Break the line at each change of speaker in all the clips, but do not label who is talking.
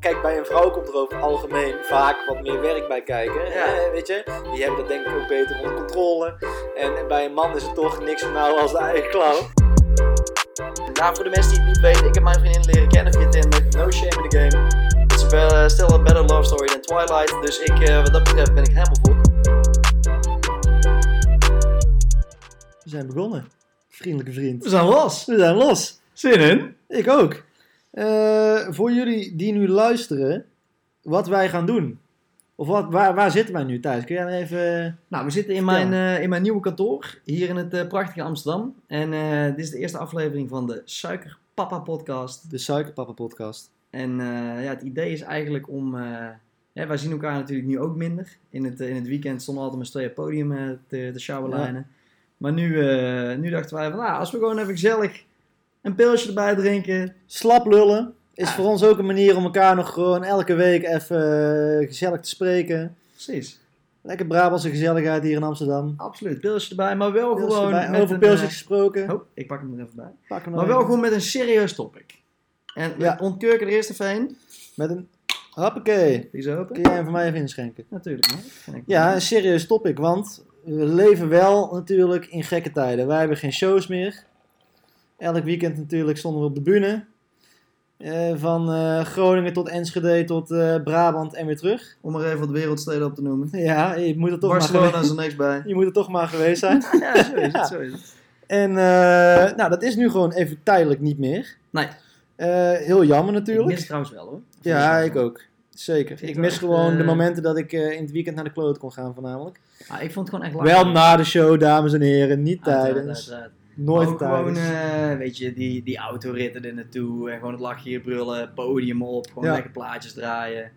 Kijk, bij een vrouw komt er over het algemeen vaak wat meer werk bij kijken.
Ja.
eh, weet je? Die hebben dat denk ik ook beter onder controle. En, en bij een man is het toch niks van nou als de eigen klauw.
Nou, voor de mensen die het niet weten, ik heb mijn vriendin leren kennen via Tinder.
No shame in the game.
Het is wel, eh, still a better love story than Twilight, dus ik, eh, wat dat betreft ben ik helemaal voor.
We zijn begonnen. Vriendelijke vriend.
We zijn los.
We zijn los.
Zin in?
Ik ook. Eh, voor jullie die nu luisteren, wat wij gaan doen. Of wat, waar, waar zitten wij nu thuis? Kun jij me even... eh,
Nou, we zitten in
Vertel.
mijn, eh, in mijn nieuwe kantoor hier in het eh, prachtige Amsterdam. En eh, dit is de eerste aflevering van de Suikerpapa podcast.
De Suikerpapa podcast.
En eh, ja, het idee is eigenlijk om... eh, hè, wij zien elkaar natuurlijk nu ook minder. In het, eh, in het weekend stonden we altijd met z'n tweeën op het podium eh, te, te sjouwerlijnen. Maar nu, eh, nu dachten wij van, nou, als we gewoon even gezellig een pilsje erbij drinken.
Slap lullen is
Ja.
voor ons ook een manier om elkaar nog gewoon elke week even eh, gezellig te spreken.
Precies,
Lekker Brabantse gezelligheid hier in Amsterdam.
absoluut. Pilsje erbij, maar wel
Pilsje
gewoon...
bij-
met
over
een,
pilsjes
eh,
gesproken.
oh, ik pak hem er even bij.
Pak hem
Maar
nog
wel
even.
gewoon met een serieus topic. En
Ja.
we ontkurken er eerst even een.
Met een... Hoppakee.
Die is open.
Kun jij hem voor mij even inschenken?
Natuurlijk. hè.
Ja, een serieus topic, want we leven wel natuurlijk in gekke tijden. Wij hebben geen shows meer. Elk weekend natuurlijk stonden we op de bühne. Eh, van eh, Groningen tot Enschede tot eh, Brabant en weer terug.
Om er even wat wereldsteden op te noemen.
Ja, je moet er toch, maar,
Barcelona
gewe-
is er niks bij.
je moet er toch maar geweest zijn.
Ja, zo is
Ja.
het. Zo is het.
En eh, nou, dat is nu gewoon even tijdelijk niet meer.
Nee.
Eh, heel jammer
Ik
natuurlijk.
mis het trouwens wel hoor.
Ja, ik ook. Zeker.
Vind
Ik
het
mis
echt,
gewoon de
eh,
momenten dat ik eh, in het weekend naar de kloot kon gaan voornamelijk.
Ah, ik vond het gewoon echt lachen.
Wel na de show, dames en heren. Niet
Uiteraard,
tijdens.
uiteraard.
Nooit
Ook
tijdens.
gewoon, eh, weet je, die, die autoritten er naartoe. En gewoon het lachje hier brullen. Podium op. Gewoon
Ja.
lekker plaatjes draaien.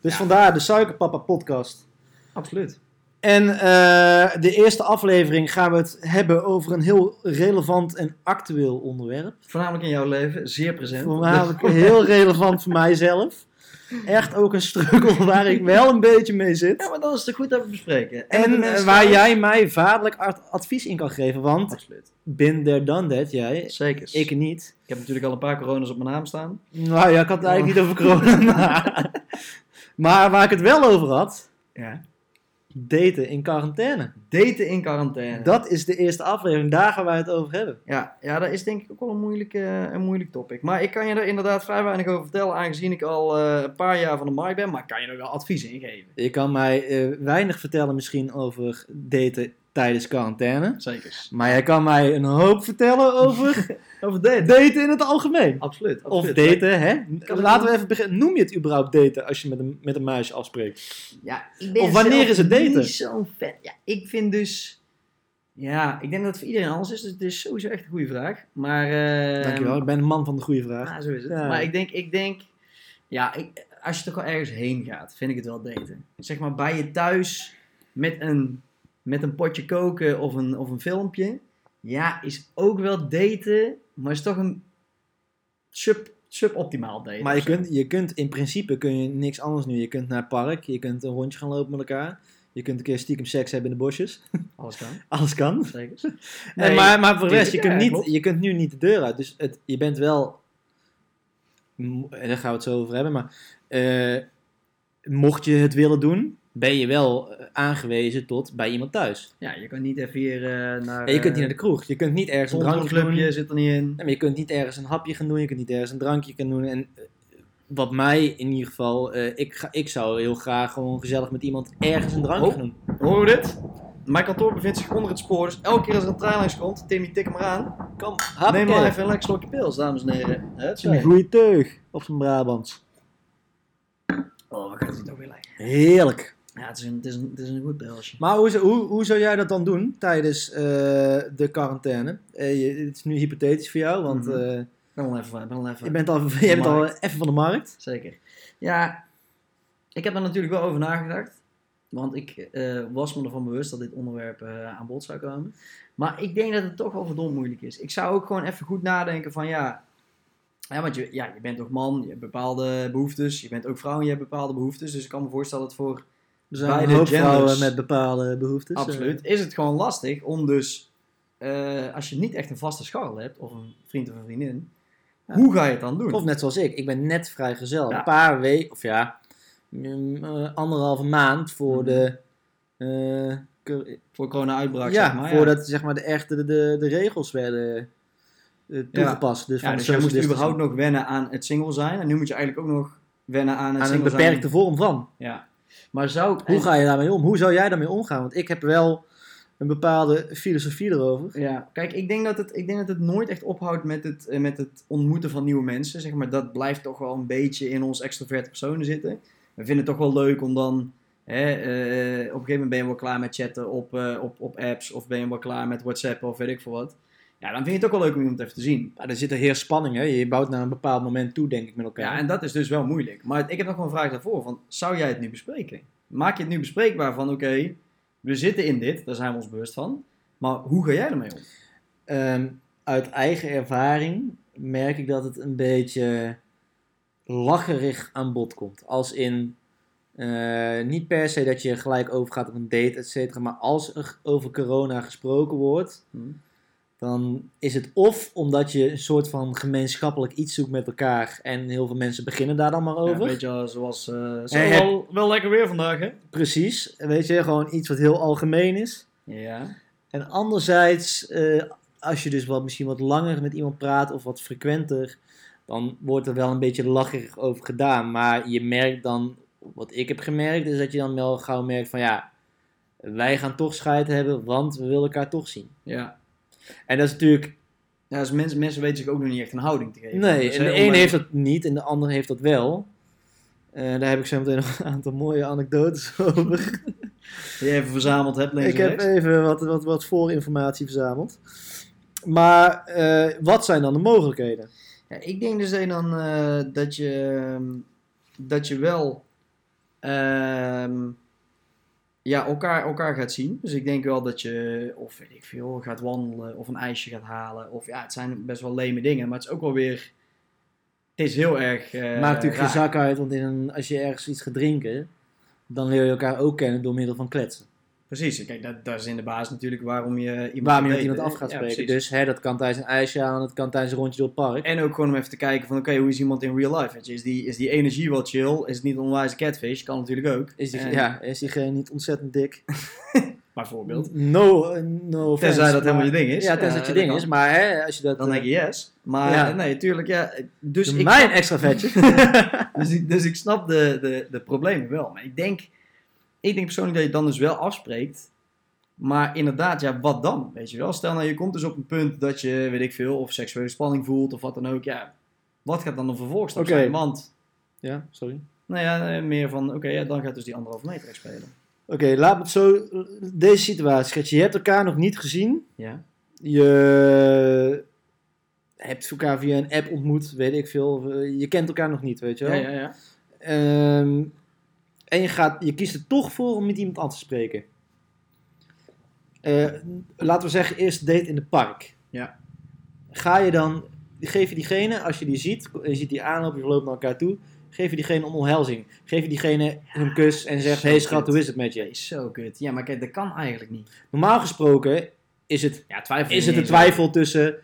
Dus
Ja.
vandaar de Suikerpapa podcast.
Absoluut.
En eh, de eerste aflevering gaan we het hebben over een heel relevant en actueel onderwerp.
Voornamelijk in jouw leven. Zeer present.
Voornamelijk heel relevant voor mijzelf. Echt ook een struggle waar ik wel een beetje mee
Ja,
zit.
maar dan is het goed dat we het bespreken. met de
En eh,
mensen
waar
thuis.
jij mij vaderlijk ad- advies in kan geven, want
Absoluut.
bin there done that, jij,
Zeker.
ik niet.
Ik heb natuurlijk al een paar coronas op mijn naam staan.
Nou ja, ik had het eigenlijk niet over corona. maar- maar waar ik het wel over had,
Ja.
daten in quarantaine.
Daten in quarantaine.
Dat is de eerste aflevering, daar gaan wij het over hebben.
Ja, ja, dat is denk ik ook wel een moeilijk, eh, een moeilijk topic. Maar ik kan je er inderdaad vrij weinig over vertellen, aangezien ik al eh, een paar jaar van de markt ben. Maar ik kan je er wel advies in geven.
Je kan mij eh, weinig vertellen misschien over daten tijdens quarantaine.
Zeker.
Maar jij kan mij een hoop vertellen over
Over daten.
daten in het algemeen.
Absoluut.
Of
absoluut.
daten, hè?
Kan ik
Laten we
doen?
even beginnen. Noem je het überhaupt daten als je met een, met een muisje afspreekt?
Ja, ik ben
Of wanneer
zelf
is het daten?
niet zo'n fan. Ja, ik vind dus... Ja, ik denk dat het voor iedereen anders is. Dus het is sowieso echt een goede vraag. Maar... eh,
Dankjewel, ik ben een man van de goede vraag.
Ja, zo is het.
Ja.
Maar ik denk, ik denk ja, ik, als je toch wel ergens heen gaat, vind ik het wel daten. Zeg maar bij je thuis met een, met een potje koken of een, of een filmpje. Ja, is ook wel daten, maar is toch een sub, suboptimaal daten.
Maar je
of zo.
kunt, je kunt in principe kun je niks anders nu. Je kunt naar het park, je kunt een rondje gaan lopen met elkaar. Je kunt een keer stiekem seks hebben in de bosjes.
Alles kan,
Alles kan.
zeker.
en
Nee,
maar, maar voor de rest, je
tuurlijk,
kunt,
ja,
niet,
klopt.
je kunt nu niet de deur uit. Dus het, je bent wel. mo- Daar gaan we het zo over hebben. Maar eh, mocht je het willen doen, ben je wel eh, aangewezen tot bij iemand thuis.
Ja, je kan niet even hier eh, naar...
En je kunt niet naar de kroeg. Je kunt niet ergens een drankje gaan doen.
clubje zit er niet in.
Nee, maar je kunt niet ergens een hapje gaan doen. Je kunt niet ergens een drankje gaan doen. En eh, wat mij in ieder geval. eh, ik, ga, ik zou heel graag gewoon gezellig met iemand ergens een drankje
Oh.
gaan doen.
Hoor je dit? Mijn kantoor bevindt zich onder het spoor, dus elke keer als er een trein langs komt, Timmy, tik hem maar aan.
Kom,
Neem maar
hapje.
even een lekker slokje pils, dames en heren. Het
Een goede teug op zijn Brabants.
Oh, we gaan het ook weer lekker.
Heerlijk.
Ja, het is een, het is een, het is een goed pilsje.
Maar hoe, zou- hoe, hoe zou jij dat dan doen tijdens eh, de quarantaine? Eh, je- het is nu hypothetisch voor jou, want
Mhm.
eh,
Ik ben al even, ik ben al even.
je bent al, je bent al
markt.
even van de markt.
Zeker. Ja, ik heb er natuurlijk wel over nagedacht. Want ik eh, was me ervan bewust dat dit onderwerp eh, aan bod zou komen. Maar ik denk dat het toch wel verdomd moeilijk is. Ik zou ook gewoon even goed nadenken van ja... Ja, want je, ja, je bent toch man, je hebt bepaalde behoeftes. Je bent ook vrouw en je hebt bepaalde behoeftes. Dus ik kan me voorstellen dat het voor
Er zijn
Beide
een hoop
genders.
vrouwen met bepaalde behoeftes. eh.
Absoluut. Is het gewoon eh, lastig om dus, eh, als je niet echt een vaste scharrel hebt, of een vriend of een vriendin, Hoe ga je het dan doen?
Of net zoals ik, ik ben net vrijgezel.
Ja.
Een paar weken, of ja, mm, eh, anderhalve maand
Mhm.
voor de. eh, cur-
voor corona-uitbraak,
ja,
zeg maar. ja.
voordat zeg maar, de, echte, de, de, de regels werden eh, toegepast. Dus
Ja,
van
dus
de social
jij moest
distancing.
überhaupt nog wennen aan het single zijn. En nu moet je eigenlijk ook nog wennen aan het
aan een
single
beperkte
zijn.
vorm van.
Ja. Maar zou...
Hoe ga je daarmee om? Hoe zou jij daarmee omgaan? Want ik heb wel een bepaalde filosofie erover.
Ja, kijk, ik denk, dat het, ik denk dat het nooit echt ophoudt met het, eh, met het ontmoeten van nieuwe mensen. Zeg maar, dat blijft toch wel een beetje in ons extroverte personen zitten. We vinden het toch wel leuk om dan... Hè, eh, op een gegeven moment ben je wel klaar met chatten op, eh, op, op apps. Of ben je wel klaar met WhatsApp of weet ik veel wat. Ja, dan vind je het ook wel leuk om iemand even te zien.
Maar er zit er heerst spanning, hè? Je bouwt naar een bepaald moment toe, denk ik, met elkaar.
Ja, en dat is dus wel moeilijk. Maar ik heb nog wel een vraag daarvoor. Van, zou jij het nu bespreken? Maak je het nu bespreekbaar van, oké, we zitten in dit, daar zijn we ons bewust van. Maar hoe ga jij ermee om?
Ehm, uit eigen ervaring merk ik dat het een beetje lacherig aan bod komt. Als in, eh, niet per se dat je gelijk overgaat op een date, et cetera. Maar als er over corona gesproken wordt, dan is het of omdat je een soort van gemeenschappelijk iets zoekt met elkaar. En heel veel mensen beginnen daar dan maar
Ja,
over.
een beetje zoals... eh zo,
Hey, heb-
wel, wel lekker weer vandaag, hè?
Precies, weet je, gewoon iets wat heel algemeen is.
Ja.
En anderzijds, eh, als je dus wat, misschien wat langer met iemand praat of wat frequenter, dan wordt er wel een beetje lacherig over gedaan. Maar je merkt dan, wat ik heb gemerkt, is dat je dan wel gauw merkt van ja, wij gaan toch scheid hebben, want we willen elkaar toch zien.
Ja.
En dat is natuurlijk,
ja dus mensen, mensen weten zich ook nog niet echt een houding te geven.
nee,
Dus,
en
hè,
de
om-
een heeft dat niet en de ander heeft dat wel. Eh, daar heb ik zo meteen nog een aantal mooie anekdotes over.
Die je even verzameld hebt, links
Ik
en
heb
rechts.
even wat, wat, wat voorinformatie verzameld. Maar eh, wat zijn dan de mogelijkheden?
Ja, ik denk dus dat je dan eh, dat je ehm, dat je wel ehm, ja, elkaar, elkaar gaat zien. Dus ik denk wel dat je of weet ik veel gaat wandelen of een ijsje gaat halen. Of ja, het zijn best wel leme dingen, maar het is ook wel weer het is heel erg. eh,
Maakt natuurlijk geen
raar.
zak uit, want in een, als je ergens iets gaat drinken, dan leer je elkaar ook kennen door middel van kletsen.
Precies. Kijk, dat, dat is in de basis natuurlijk waarom je iemand
Waarom je met
gaat
iemand
daten.
af gaat
Ja,
spreken.
precies.
dus hè, dat kan tijdens een ijsje aan, dat kan tijdens een rondje door het park.
En ook gewoon om even te kijken van oké, hoe is iemand in real life? Weet je? Is, die, is die energie wel chill? Is het niet een onwijze catfish? Kan natuurlijk ook.
Is, die,
En-
ja, is diegene niet ontzettend dik?
Bijvoorbeeld.
No, eh, no offense,
Tenzij dat
maar-
helemaal je ding is.
Ja, tenzij het je
dat
ding
kan.
is. Maar hè, als je dat...
Dan denk je yes. Maar
Ja.
eh, nee, tuurlijk, ja. Dus ik,
mijn extra vetje.
dus ik, dus ik snap de, de, de problemen wel. Maar ik denk, ik denk persoonlijk dat je dan dus wel afspreekt. Maar inderdaad, ja, wat dan? Weet je wel? Stel nou, je komt dus op een punt dat je, weet ik veel, of seksuele spanning voelt of wat dan ook. Ja, wat gaat dan de vervolgstap
Oké.
zijn? Want,
ja, sorry.
nou ja, eh, meer van, oké, ja, dan gaat dus die anderhalve meter echt spelen.
Oké, laat me het zo... Deze situatie schetsen. Je hebt elkaar nog niet gezien.
Ja.
Je hebt elkaar via een app ontmoet, weet ik veel. Of, eh, Je kent elkaar nog niet, weet je
Ja,
wel.
ja, ja.
Ehm, en je, gaat, je kiest er toch voor om met iemand aan te spreken. Eh, laten we zeggen, eerst date in het park.
Ja.
Ga je dan, geef je diegene, als je die ziet, je ziet die aanloop, je loopt naar elkaar toe, geef je diegene een omhelzing. Geef je diegene een kus en zeg,
zo
hey schat,
kut.
hoe is het met je?
Is zo kut. Ja, maar kijk, dat kan eigenlijk niet.
Normaal gesproken is het,
Ja, twijfel.
is het een twijfel tussen,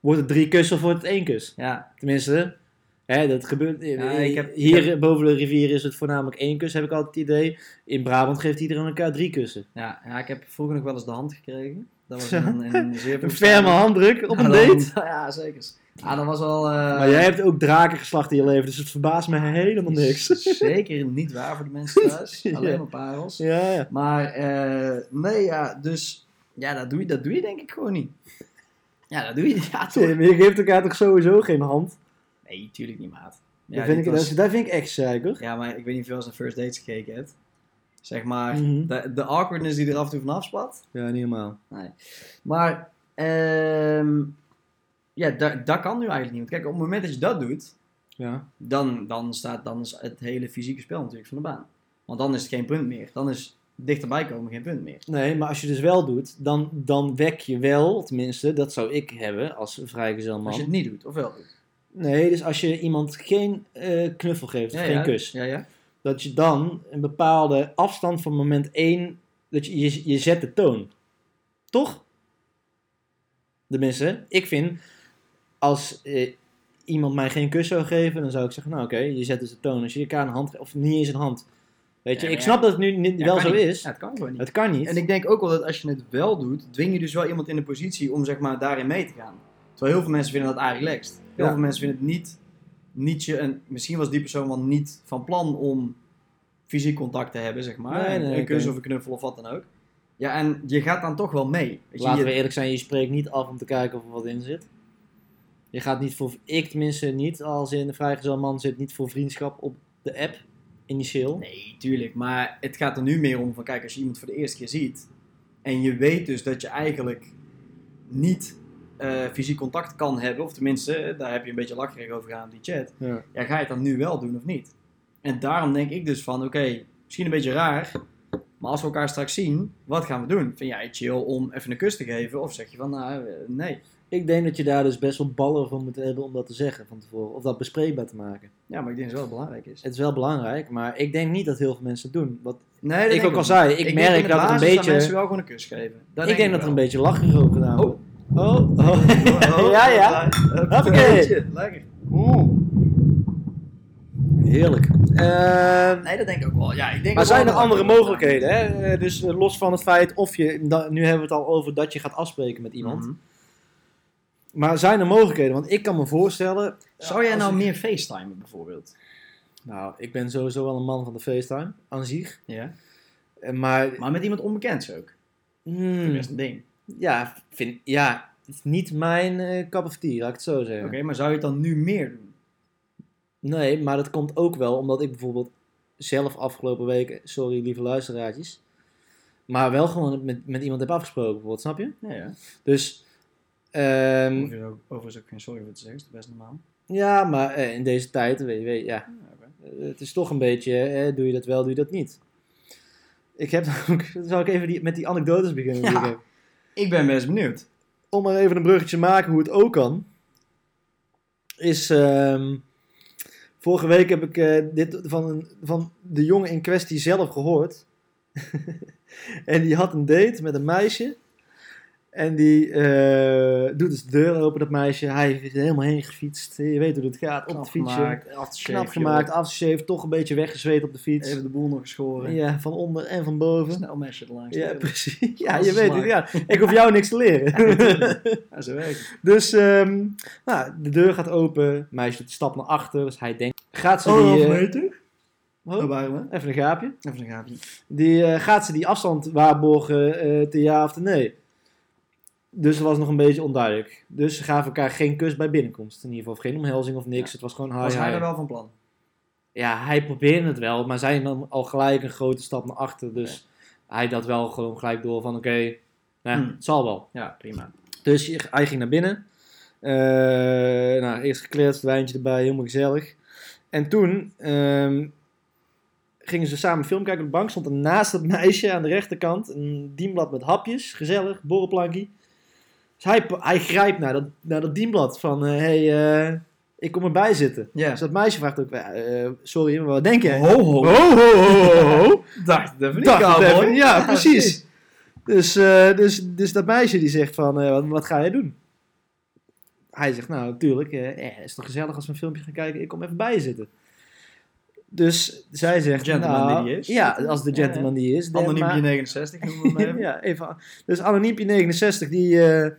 wordt het drie kussen of wordt het één kus?
Ja,
Tenminste, hè, dat gebeurt. eh,
ik heb-
hier boven de rivier is het voornamelijk één kus, heb ik altijd het idee. In Brabant geeft iedereen elkaar drie kussen.
Ja, ja, ik heb vroeger nog wel eens de hand gekregen. Dat was in een, in een zeer
Een ferme handruk op een
Ja, dan-
date.
Ja, zeker. Ah, dat was wel... eh,
Maar jij hebt ook draken geslacht in je leven, dus het verbaast me helemaal niks.
Zeker niet waar voor de mensen thuis.
Ja.
Alleen maar parels.
Ja, ja.
Maar eh, nee, ja, dus... Ja, dat doe, je, dat doe je denk ik gewoon niet. Ja, dat doe je. Ja, toch?
Nee, maar je geeft elkaar toch sowieso geen hand?
Nee, tuurlijk niet, maat. Ja,
dat, vind
dit
ik,
was-
dat, dat vind ik echt zeker.
ja, maar ik weet niet of je wel eens naar First Dates gekeken hebt. Zeg maar,
Mhm.
de, de awkwardness die er af en toe vanaf spat.
Ja, niet helemaal.
Maar ehm, ja, da- dat kan nu eigenlijk niet. Want kijk, op het moment dat je dat doet,
Ja.
dan, dan, staat, dan is het hele fysieke spel natuurlijk van de baan. Want dan is het geen punt meer. Dan is dichterbij komen geen punt meer.
Nee, maar als je dus wel doet, dan, dan wek je wel, tenminste, dat zou ik hebben als vrijgezel man.
Als je het niet doet, of wel doet.
Nee, dus als je iemand geen eh, knuffel geeft, of geen
ja,
kus.
Ja, ja.
dat je dan een bepaalde afstand van moment 1, dat je, je, je zet de toon. Toch? Tenminste, ik vind, als eh, iemand mij geen kus zou geven, dan zou ik zeggen, nou oké, je zet dus de toon. Als je elkaar een hand, ge- of niet eens een hand. Weet je,
Ja,
ik
maar
snap dat het nu niet,
Ja,
wel
kan
zo
niet.
is.
Ja, het kan gewoon niet.
Het kan niet.
En ik denk ook wel dat als je het wel doet, dwing je dus wel iemand in de positie om zeg maar daarin mee te gaan. Terwijl heel veel mensen vinden dat relaxed. Heel
Ja.
veel mensen vinden het niet, niet je, en misschien was die persoon wel niet van plan om fysiek contact te hebben, zeg maar.
Nee, nee,
een kus
oké.
of een knuffel of wat dan ook. Ja, en je gaat dan toch wel mee. Weet je,
Laten
je-
we eerlijk zijn, je spreekt niet af om te kijken of er wat in zit. Je gaat niet voor, ik tenminste niet, als in de vrijgezel man zit, niet voor vriendschap op de app, initieel.
Nee, tuurlijk. Maar het gaat er nu meer om van, kijk, als je iemand voor de eerste keer ziet... en je weet dus dat je eigenlijk niet eh, fysiek contact kan hebben... of tenminste, eh, daar heb je een beetje lacherig over gegaan in die chat...
Ja.
ja, ga je het dan nu wel doen of niet? En daarom denk ik dus van, oké, misschien een beetje raar... maar als we elkaar straks zien, wat gaan we doen? Vind jij het chill om even een kus te geven? Of zeg je van, nou, eh, nee.
Ik denk dat je daar dus best wel ballen voor moet hebben om dat te zeggen van tevoren. Of dat bespreekbaar te maken.
Ja, maar ik denk dat het wel belangrijk is.
Het is wel belangrijk, maar ik denk niet dat heel veel mensen het doen. Wat
Nee, dat denk
ik ook al zei, ik,
denk in
merk
de
dat er een
basis
beetje...
mensen wel gewoon een kus geven. Dat
ik denk dat er
wel.
een beetje lachen ook gedaan
Oh.
wordt. Oh, oh. ja, ja. Hoppakee.
Lekker.
Heerlijk. Ehm,
Nee, dat denk ik ook wel. Ja, ik denk
maar
ook wel
zijn er
dat-
andere mogelijkheden? Hè? Eh, Dus eh, los van het feit of je, da- nu hebben we het al over dat je gaat afspreken met iemand.
Mhm.
Maar zijn er mogelijkheden? Want ik kan me voorstellen.
Zou jij
als
nou
ik-
meer facetimen bijvoorbeeld?
Nou, ik ben sowieso wel een man van de FaceTime, aan zich.
Ja.
Eh, Maar,
Maar met iemand onbekends ook.
mm,
Dat is een ding.
ja, vind, ja, het is niet mijn eh cup of tea, laat ik het zo zeggen.
Oké, maar zou je het dan nu meer doen?
Nee, maar dat komt ook wel omdat ik bijvoorbeeld zelf afgelopen weken, sorry lieve luisteraartjes, maar wel gewoon met, met iemand heb afgesproken, bijvoorbeeld, snap je?
Ja, ja.
Dus, ehm,
Hoef je er ook- overigens ook geen sorry voor te zeggen, is het best normaal.
ja, maar eh, in deze tijd, weet je, weet je, ja,
Ja, oké.
eh, het is toch een beetje, eh, doe je dat wel, doe je dat niet. Ik heb ook, zal ik even die, met die anekdotes beginnen? die
Ja.
ik heb?
Ik ben best benieuwd.
om maar even een bruggetje te maken hoe het ook kan. Is. ehm, vorige week heb ik eh, dit van, een, van de jongen in kwestie zelf gehoord. en die had een date met een meisje. En die eh, doet dus de deur open, dat meisje. Hij is er helemaal heen gefietst. Je weet hoe het gaat. Op het fietsje. Knap gemaakt, afgeschreven, toch een beetje weggezweet op de fiets.
Even de boel nog geschoren.
Ja, van onder en van boven.
Snel mesje er langs.
Ja, precies. Ja,
Alles
je weet het. Ja. Ik hoef jou niks te leren.
Ja, zo werkt het.
Dus ehm, nou, de deur gaat open, meisje doet een stap naar achter, dus hij denkt, gaat
Oh,
ze die... eh,
meter.
oh,
Daar waren we.
even een gaapje.
Even een gaapje.
Die, eh, gaat ze die afstand waarborgen eh, te ja of te nee? Dus het was nog een beetje onduidelijk. Dus ze gaven elkaar geen kus bij binnenkomst. In ieder geval of geen omhelzing of niks.
Ja.
Het was gewoon hi,
Was hij
hi.
er wel van plan?
Ja, hij probeerde het wel, maar zij nam al gelijk een grote stap naar achter. Dus hij had wel gewoon gelijk door van oké, nou,
Hmm.
het zal wel.
Ja, prima.
Dus je- hij ging naar binnen. Eh, nou, eerst gekletst, wijntje erbij, helemaal gezellig. En toen ehm, gingen ze samen een film kijken op de bank. Stond er naast dat meisje aan de rechterkant een dienblad met hapjes. Gezellig, borrelplankie. Dus hij, pa- hij grijpt naar dat, naar dat dienblad van... Hé, hey, eh, ik kom erbij zitten.
Ja.
Dus dat meisje vraagt ook... eh, eh, sorry, maar wat denk jij?
Ho, ho.
ho, ho, ho, ho.
Dacht, dat vind ik
Dacht het
cowboy.
even. Ja, precies. Dus, eh, dus, dus dat meisje die zegt van, eh, wat, wat ga jij doen? Hij zegt, nou, natuurlijk, eh, eh, is toch gezellig als we een filmpje gaan kijken, ik kom even bij je zitten. Dus zij zegt,
Gentleman
nou,
die die is.
ja, als de
Ja, ja.
gentleman die is. dan maar-
Anoniem 69 noemen we hem even.
ja, even. Dus Anoniempje 69, die, eh,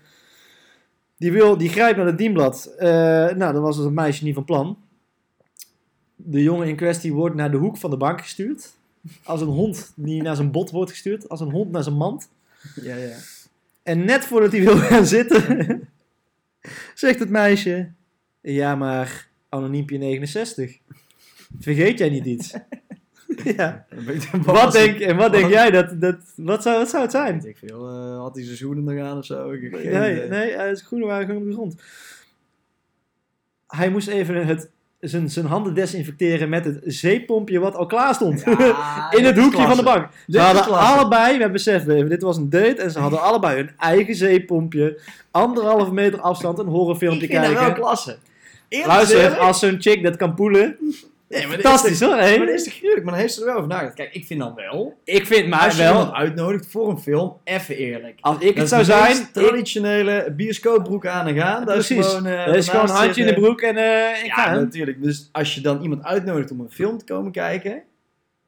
die, wil, die grijpt naar het dienblad. Eh, nou, dat was dus het meisje niet van plan. De jongen in kwestie wordt naar de hoek van de bank gestuurd. Als een hond die naar zijn bot wordt gestuurd. Als een hond naar zijn mand.
Ja, ja.
En net voordat hij wil gaan zitten, zegt het meisje: Ja, maar Anoniempje 69, vergeet jij niet iets? ja. Wat denk, en wat denk jij dat, dat wat, zou, wat zou het zijn?
Weet ik veel. eh, had hij zijn schoenen nog aan of zo? Ik heb geen
Nee,
idee.
nee, eh, zijn schoenen waren gewoon op de grond. Hij moest even het, zijn, zijn handen desinfecteren met het zeepompje wat al klaar stond.
Ja,
In het
dit is
hoekje van de
klasse.
bank. Ze
Dit is
hadden
klasse.
allebei, we beseffen even, dit was een date. En ze hadden allebei hun eigen zeepompje. Anderhalve meter afstand, een horrorfilmpje
Ik vind dat wel
kijken.
klasse. Eerlijk
Luister,
gezegd,
als zo'n chick dat kan poelen,
Nee, maar dit is
Fantastisch hoor.
toch-
hé?
Maar dat is toch gruwelijk? Maar dan heeft ze er wel over nagedacht. Kijk, ik vind dan wel.
Ik vind maar
als je iemand
wel,
uitnodigt voor een film, even eerlijk.
als ik het
Dat
zou
is de meest
zijn, ik-
traditionele bioscoopbroek aan en gaan. Dat
precies.
is gewoon, eh,
dat is gewoon een
daarnaast
handje in de
zitten.
broek en eh, ik
Ja,
ga. hem.
natuurlijk. Dus als je dan iemand uitnodigt om een film te komen kijken,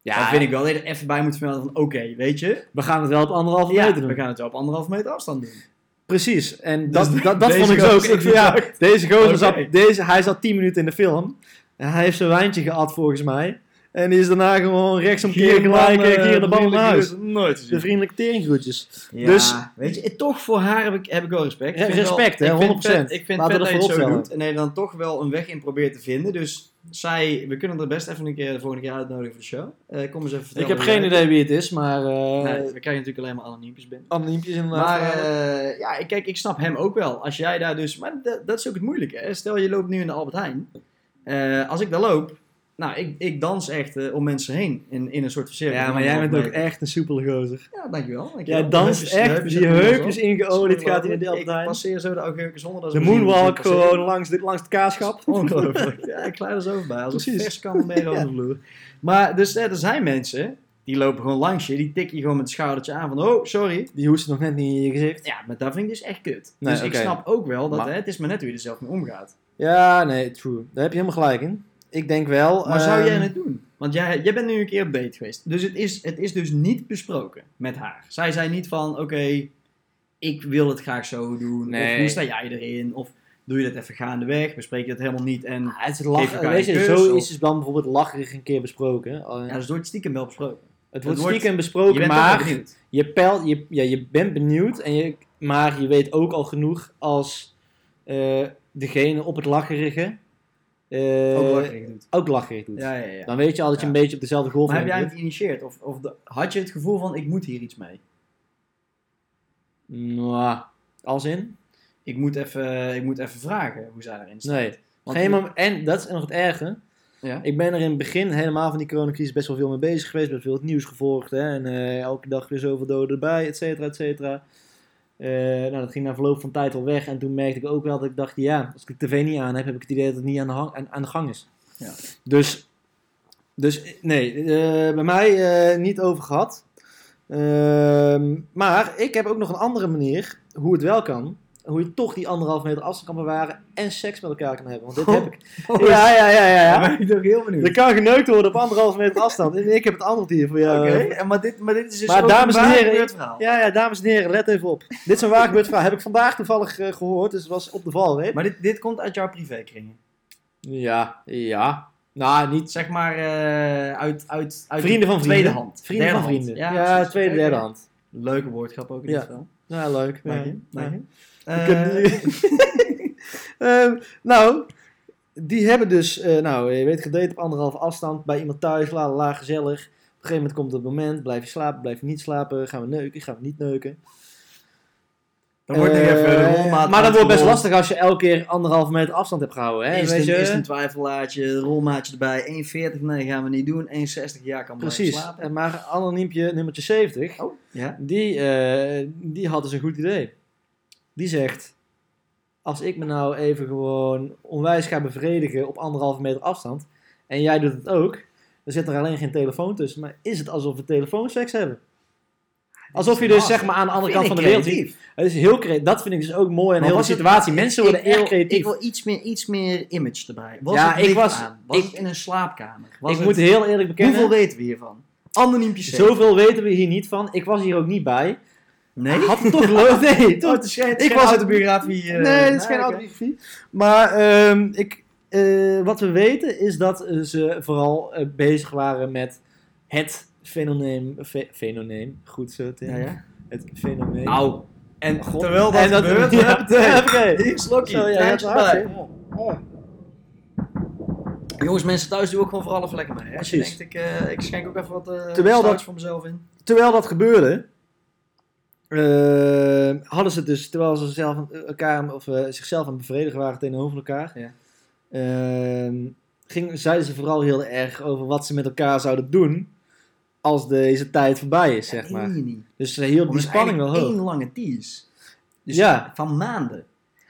dan vind ik wel dat je er even bij moet vermelden van oké, weet je,
we gaan het wel op anderhalve
ja,
meter
we
doen.
gaan het wel op anderhalf meter afstand doen.
Precies, en
Dus
dat, dat, dat
deze
vond ik zo ook.
gozer
Ik vind, ja,
die-
deze gozer zat,
Oké.
deze, hij zat 10 minuten in de film. En hij heeft zijn wijntje gehad volgens mij. En die is daarna gewoon rechtsomkeer gelijk eh, keer de bal naar huis.
Nooit
De vriendelijke teringroetjes.
Ja,
Dus-
weet je, eh, toch voor haar heb ik, heb ik wel respect.
Re-
Ik vind wel-
respect, hè,
ik vind
100%.
vet- Ik vind
Laten we
vet
dat
dat je het zo
vooropstellen.
doet en dat je dan toch wel een weg in probeert te vinden. Dus zij, we kunnen er best even een keer de volgende keer uitnodigen voor de show. Eh, kom eens even vertellen.
ik heb
hoe
geen
jij-
idee wie het is, maar... eh
Nee, we krijgen natuurlijk alleen maar anoniempjes binnen.
Anoniempjes inderdaad.
Maar eh, ja, ik- kijk, ik snap hem ook wel. Als jij daar dus... Maar dat, dat is ook het moeilijke. Hè? Stel, je loopt nu in de Albert Heijn. Eh, als ik daar loop... Nou, ik, ik dans echt eh, om mensen heen. In, in een soort van cirkel.
ja, maar jij bent ook echt een soepele gozer.
Ja, dankjewel. dankjewel.
Jij danst
Heupjes-
echt, die
heb ik nog
heupjes
wel.
ingeolied gaat hij in de
Ik
Albertijn.
passeer zo de augurken zonder dat
De
ze me zien,
moonwalk
dus ik passeer.
gewoon langs, dit, langs het kaaschap.
Ongelooflijk. Ja, ik klaar er zo bij. Als een
Precies.
vers kan mee over
Ja.
de vloer. Maar dus, eh, er zijn mensen... Die lopen gewoon langs je. Die tikken je gewoon met het schoudertje aan van... Oh, sorry.
Die hoest nog net niet in je gezicht.
Ja, maar dat vind ik dus echt kut.
Nee,
dus ik
oké.
snap ook wel dat
Maar-
hè, het is maar net hoe je er zelf mee omgaat.
Ja, nee, true. Daar heb je helemaal gelijk in. Ik denk wel...
Maar zou
ehm,
jij het doen? Want jij, jij bent nu een keer op date geweest. Dus het is, het is dus niet besproken met haar. Zij zei niet van, oké, ik wil het graag zo doen. Of
Nee.
hoe sta jij erin? Of doe je dat even gaandeweg? Bespreek je dat helemaal niet? En
Ah, het is
Geef
lachen.
elkaar
Weet
een
je,
kus,
zo
of-
is het dan bijvoorbeeld lacherig een keer besproken. Uh,
ja, dus door het stiekem wel besproken.
het wordt
het wordt-
stiekem
Je
besproken,
bent maar...
maar
benieuwd.
je, peil, je, ja, je bent benieuwd, en je, maar je weet ook al genoeg als eh, degene op het lacherige eh,
Ook wat ik doet.
ook lacherig doet.
Ja, ja, ja.
Dan weet je al dat je
Ja.
een beetje op dezelfde golf
Maar heb jij
bent.
het geïnitieerd? Of, of de- had je het gevoel van, ik moet hier iets mee?
Nou, als in?
Ik moet even, ik moet even vragen hoe zij erin staat.
Nee.
Want-
Geen mom- en dat is nog het erge.
Ja.
Ik ben er in het begin helemaal van die coronacrisis best wel veel mee bezig geweest. Best veel het nieuws gevolgd. Hè? En eh, elke dag weer zoveel doden erbij, et cetera, et cetera. Eh, nou, dat ging na verloop van tijd al weg. En toen merkte ik ook wel dat ik dacht, ja, als ik de tv niet aan heb, heb ik het idee dat het niet aan de, hang- aan, aan de gang is.
Ja.
Dus, dus eh, nee, eh, bij mij eh, niet over gehad. Ehm, maar ik heb ook nog een andere manier hoe het wel kan. Hoe je toch die anderhalf meter afstand kan bewaren en seks met elkaar kan hebben. Want dit heb ik. Ja, ja, ja, ja.
Oh, Ja,
ja.
ben ik toch heel benieuwd.
Er kan geneukt worden op anderhalf meter afstand. En ik heb het antwoord hier voor jou.
Oké, en maar, dit, maar dit is dus
Eh, Maar
ook
dames en
een waar
heren,
gebeurd verhaal.
Ja, ja, dames en heren, let even op. Dit is een waar gebeurd verhaal. Heb ik vandaag toevallig eh, gehoord, dus het was op de valreep.
Maar dit, dit komt uit jouw privékringen.
Ja, ja. Nou, niet
Zeg maar eh, uit, uit, uit
Vrienden van
tweede
vrienden.
hand.
vrienden
Derde
van
hand.
vrienden.
Ja,
Ja,
precies.
tweede,
Oké.
derde hand.
Leuke woordgrap ook in
Ja.
dit geval.
Ja, leuk.
Dank je.
Ja.
Dank je.
Ik
Eh,
heb die- Ehm, nou, die hebben dus, eh, nou, je weet, gedate op anderhalve afstand, bij iemand thuis, la la la, gezellig. Op een gegeven moment komt het moment, blijf je slapen, blijf je niet slapen, gaan we neuken, gaan we niet neuken.
dan wordt nog
Eh,
even de rolmaat
Maar dat wordt best
uitgerold.
lastig als je elke keer anderhalve meter afstand hebt gehouden, hè?
Is
weet
het
je?
een, is het een twijfelaartje, rolmaatje erbij, 1,40, nee gaan we niet doen, 1,60, ja kan blijven
Precies.
slapen.
Eh, Maar anoniempje nummertje 70,
Oh, ja.
die, eh, die had dus een goed idee. Die zegt, als ik me nou even gewoon onwijs ga bevredigen op anderhalve meter afstand, en jij doet het ook, dan zit er alleen geen telefoon tussen, maar is het alsof we telefoonseks hebben?
Ah,
Alsof je dus zeg maar aan de andere kant van de wereld ziet. Het is heel creatief. Dat vind ik dus ook mooi en
Maar
heel de
was het-
situatie. Mensen worden echt creatief.
Ik wil iets meer, iets meer image erbij. Was
Ja,
het
ik
licht
was-
aan? Was
ik-
het in een slaapkamer? Was
Ik
het-
moet heel eerlijk bekennen.
Hoeveel weten we hiervan? Anoniem PC.
Zoveel weten we hier niet van. Ik was hier ook niet bij.
Nee?
Had het toch leuk? Nee, toch? Ik was Oh, het-
autobiografie. eh,
nee, dat is geen
oké.
autobiografie. Maar ehm, ik, eh, wat we weten is dat eh, ze vooral eh, bezig waren met het fenomeen. fe- fenomeen, goed zo, Tim.
Ja, ja.
Het fenomeen.
Nou, en
Oh, God.
terwijl dat
En dat-
gebeurt,
ja,
hup, nee.
oké.
Hier, slokje.
Zo, ja,
Kleintje
het hart,
erbij.
hè.
Jongens, mensen thuis doen ook gewoon vooral even lekker mee. Hè? Als je
Precies.
denkt, ik, eh, ik schenk ook even wat eh
Terwijl
stouts
dat-
voor mezelf in.
terwijl dat gebeurde, eh, hadden ze het dus, terwijl ze zelf, elkaar, of, eh, zichzelf aan het bevredigen waren tegenover elkaar,
Ja.
ehm, ging, zeiden ze vooral heel erg over wat ze met elkaar zouden doen als deze tijd voorbij is, zeg maar.
Nee, niet.
Dus ze hielden
Want
die
het is
spanning wel
eigenlijk
hoog.
één lange tease. Dus
Ja.
van maanden.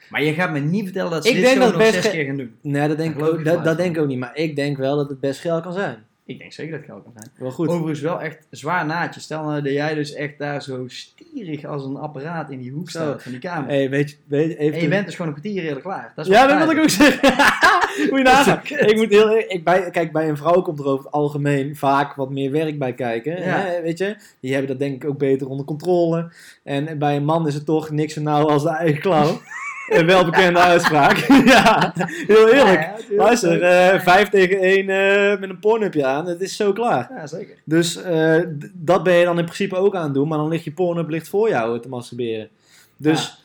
Maar je gaat me niet vertellen dat ze
Ik
dit
denk
show
dat
nog
best
zes
ge-
keer gaan doen.
Nee, dat
Daar
denk, ik
geloof
ook,
ik
dat,
wel
dat
van.
denk ik ook niet. Maar ik denk wel dat het best geil kan zijn.
Ik denk zeker dat het geld kan zijn.
Wel goed.
Overigens wel echt zwaar naadje. Stel nou dat jij dus echt daar zo stierig als een apparaat in die hoek
Zo.
staat van die kamer.
hey, weet je... Weet, je, even
en je bent dus gewoon een kwartier eerder klaar. Dat is
ja,
wel
dat wil ik
fijn.
ook zeggen. moet je nagaan.
Dat is kut.
Ik moet heel, eerlijk- ik bij, kijk, bij een vrouw komt er over het algemeen vaak wat meer werk bij kijken.
Ja.
Hè, weet je? Die hebben dat denk ik ook beter onder controle. En bij een man is het toch niks zo nauw als de eigen klauw. Een welbekende uitspraak. ja, heel eerlijk.
Ja, ja, tuurlijk.
Luister, eh, vijf tegen één eh, met een pornupje aan. Het is zo klaar.
Ja, zeker.
Dus eh, d- dat ben je dan in principe ook aan het doen, maar dan ligt je porno ligt voor jou te masturberen. Dus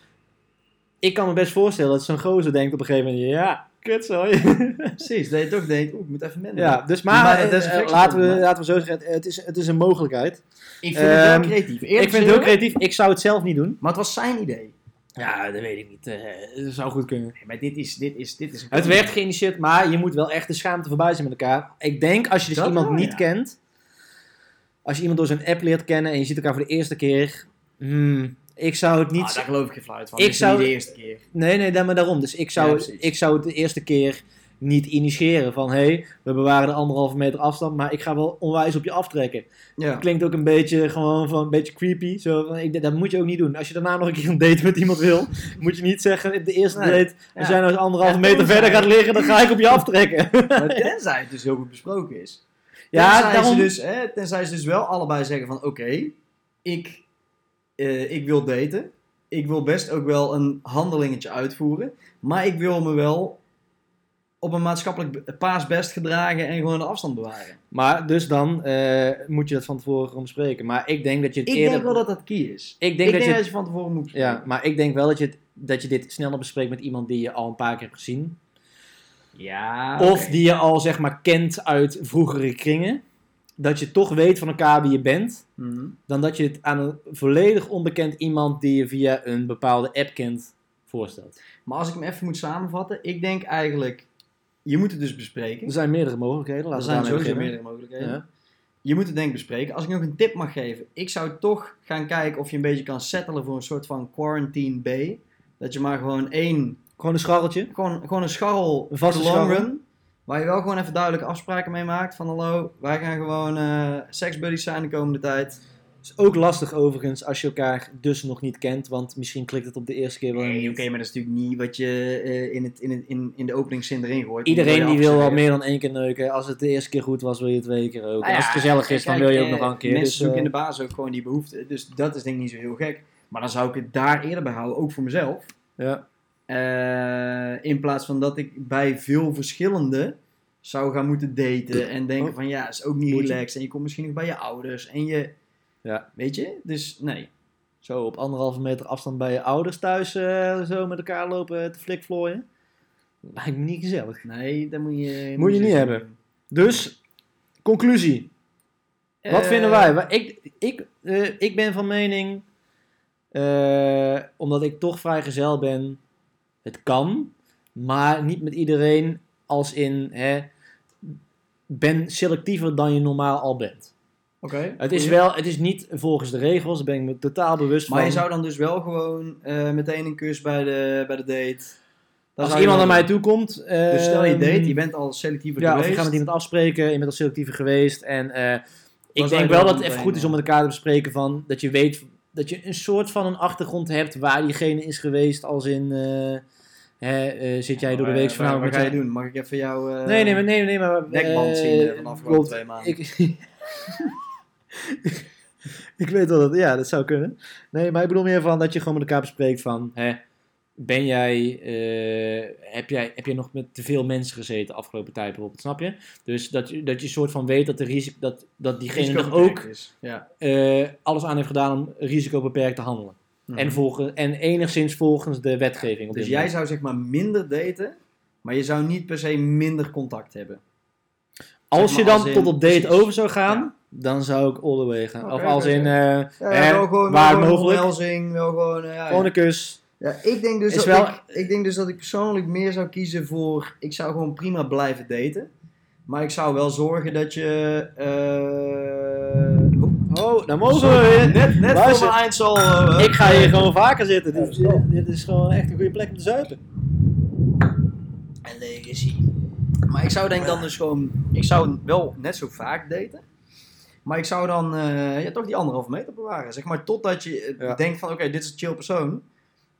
ik kan me best voorstellen dat zo'n gozer denkt op een gegeven moment, ja, kut zo.
Precies, dat je toch denkt, oeh, ik moet even minder.
ja, dus maar,
Maar het
eh,
is een
eh,
flexibel,
laten, we,
maar-
laten we zo zeggen, het- het is, het is een mogelijkheid.
Ik vind het wel
Ehm,
creatief. Eerlijk
Ik vind het heel
gezegd,
creatief, ik zou het zelf niet doen.
Maar het was zijn idee.
Ja, dat weet ik niet. eh, dat zou goed kunnen.
Nee, maar dit is, dit is, dit is een
Het werd geïnitieerd, maar je moet wel echt de schaamte voorbij zijn met elkaar. Ik denk als je dus
Dat
iemand
wel,
niet
ja.
kent, als je iemand door zijn app leert kennen en je ziet elkaar voor de eerste keer, hmm, ik zou het niet.
Ah, daar geloof ik geen fluit van.
Ik
Ik zou...
zou-
niet de eerste keer.
Nee, nee, daar- maar daarom. Dus ik
Ja,
zou,
precies.
ik zou het de eerste keer niet initiëren van hé, hey, we bewaren de anderhalve meter afstand, maar ik ga wel onwijs op je aftrekken.
Ja.
Klinkt ook een beetje gewoon van een beetje creepy. Zo van, ik, denk, dat moet je ook niet doen. Als je daarna nog een keer een date met iemand wil, moet je niet zeggen op de eerste
Nee.
date, als
Ja.
jij nou eens anderhalve
Ja,
meter
tenzij-
verder gaat liggen, dan ga ik op je aftrekken.
Maar tenzij het dus heel goed besproken is.
ja,
tenzij
daarom.
Ze dus, hè, tenzij ze dus wel allebei zeggen van... Oké, ik, eh, ik wil daten. Ik wil best ook wel een handelingetje uitvoeren. Maar ik wil me wel op een maatschappelijk be- paasbest gedragen en gewoon de afstand bewaren.
Maar dus dan eh, moet je dat van tevoren gewoon bespreken. Maar ik denk dat je het
Ik
eerder...
denk wel dat dat key is.
Ik
Ik
denk dat je het-
je van tevoren moet
Ja, maar ik denk wel dat je, het- dat je dit sneller bespreekt met iemand die je al een paar keer hebt gezien.
Ja,
Of die je al zeg maar kent uit vroegere kringen. Dat je toch weet van elkaar wie je bent.
Mhm.
Dan dat je het aan een volledig onbekend iemand die je via een bepaalde app kent voorstelt.
Maar als ik hem even moet samenvatten, ik denk eigenlijk, je moet het dus
Er
bespreken.
zijn meerdere mogelijkheden.
Er
Laten
zijn
we daarmee
sowieso
beginnen.
meerdere mogelijkheden.
Ja.
Je moet het denk ik bespreken. Als ik nog een tip mag geven, ik zou toch gaan kijken of je een beetje kan settelen voor een soort van quarantine bay. Dat je maar gewoon één,
Gewoon een scharreltje.
gewoon, gewoon een scharrel,
Een vaste
de long
scharrel.
run. Waar je wel gewoon even duidelijke afspraken mee maakt van hallo, wij gaan gewoon eh seksbuddies zijn de komende tijd.
Is ook lastig overigens als je elkaar dus nog niet kent. Want misschien klikt het op de eerste keer wel
Nee,
niet.
Oké, maar dat is natuurlijk niet wat je eh, in, het, in, het, in, in de openingszin erin gooit.
Iedereen die wil wel
meer.
meer dan één keer neuken. Als het de eerste keer goed was, wil je het twee keer ook.
Nou
En als
ja,
het gezellig is, dan
kijk,
wil je ook
eh,
nog wel een keer.
Mensen
Dus,
zoeken
eh,
in de baas ook gewoon die behoefte. Dus dat is denk ik niet zo heel gek. Maar dan zou ik het daar eerder bij houden, ook voor mezelf.
ja.
Eh, in plaats van dat ik bij veel verschillende zou gaan moeten daten. En denken van ja, is ook niet
Oh. Moet je-
relaxed. En je komt misschien nog bij je ouders. En je,
Ja.
weet je? Dus nee.
Zo op anderhalve meter afstand bij je ouders thuis eh, zo met elkaar lopen te flikvlooien. Lijkt me niet gezellig.
Nee, dat moet je...
Moet je niet
zo
hebben.
doen.
Dus, conclusie. Wat
Eh,
vinden wij? Wa- Ik, ik, eh, ik ben van mening, eh, omdat ik toch vrijgezel ben, het kan. Maar niet met iedereen als in, hè, ben selectiever dan je normaal al bent.
Oké.
Het is, wel, het is niet volgens de regels, daar ben ik me totaal bewust
Maar
van.
je zou dan dus wel gewoon eh, meteen een kus bij de, bij de date. Dan
Als
zou je
iemand
wel
naar mij
doen.
toe komt...
Dus stel je
ehm,
date, je bent al selectiever
Ja, of
geweest.
je gaat met iemand afspreken, je bent al selectiever geweest. En eh, ik
zou je
denk
dan
wel dat het
meteen,
even goed is
eh,
om met elkaar te bespreken van dat je weet dat je een soort van een achtergrond hebt waar diegene is geweest, als in eh, hè, eh, zit jij door de
Maar,
week
eh,
vanavond
Wat
met
ga je
een-
doen? Mag ik even jou... eh,
Nee, nee, maar nee, nee, maar eh,
dekband zien, eh, van de afgelopen
klopt.
twee maanden.
Ik, ik weet wel dat, ja, dat zou kunnen. Nee, maar ik bedoel meer van dat je gewoon met elkaar bespreekt van, hè, ben jij, eh, heb jij, heb jij nog met te veel mensen gezeten de afgelopen tijd bijvoorbeeld, snap je? Dus dat, je- dat je soort van weet dat de risico, dat, dat diegene nog
risicobeperkt
ook
Is. Ja.
eh, alles aan heeft gedaan om risicobeperkt te handelen.
Mhm.
en, volgen, en enigszins volgens de wetgeving. Op
Hmm. dus
dit
jij
moment.
zou zeg maar minder daten, maar je zou niet per se minder contact hebben.
Als
zeg
je
maar
dan
als in-
tot op date
precies.
over zou gaan,
Ja.
dan zou ik all the way gaan.
Oké,
of als
oké,
in,
oké.
eh,
Ja,
Hè?
wel gewoon,
Waar
wel gewoon
mogelijk.
omhelzing, wel gewoon... eh, ja,
gewoon
ja.
een kus.
Ja, ik, denk dus
Is
dat
wel-
ik, ik denk dus dat ik persoonlijk meer zou kiezen voor... Ik zou gewoon prima blijven daten. Maar ik zou wel zorgen dat je... eh, oh,
Oh, nou mogen we weer.
Net, net voor
Luister.
mijn eindsal. eh,
Ik ga hier gewoon vaker zitten. dus- Dit, dit- dit is gewoon echt een goede plek om te zuipen.
En legacy. Maar ik zou denk dan dus gewoon... Ik zou wel net zo vaak daten. Maar ik zou dan eh, ja, toch die anderhalve meter bewaren. Zeg maar totdat je eh,
Ja.
denkt van... Oké, dit is een chill persoon.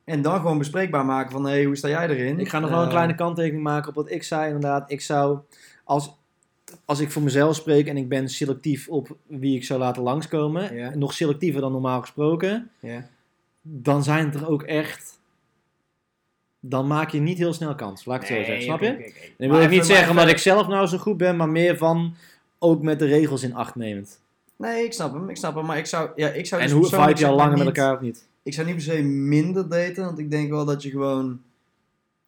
En dan gewoon bespreekbaar maken van... Hé, hey, hoe sta jij erin?
Ik ga nog wel een
Eh,
kleine kanttekening maken op wat ik zei. Inderdaad, ik zou, als, als ik voor mezelf spreek en ik ben selectief op wie ik zou laten langskomen,
Ja.
nog selectiever dan normaal gesproken,
Ja.
dan zijn het er ook echt. Dan maak je niet heel snel kans, laat ik het zo zeggen. Snap je?
oké, oké, oké.
En dat
Maar
wil ik
even-
niet
maar
zeggen omdat
even-
ik zelf nou zo goed ben, maar meer van ook met de regels in acht nemend.
Nee, ik snap hem. Ik snap hem. Maar ik zou... Ja, ik zou
En
dus
hoe
persoonlijk
vibe je al
zeg maar
langer met
niet-
elkaar of niet?
Ik zou niet per se minder daten, want ik denk wel dat je gewoon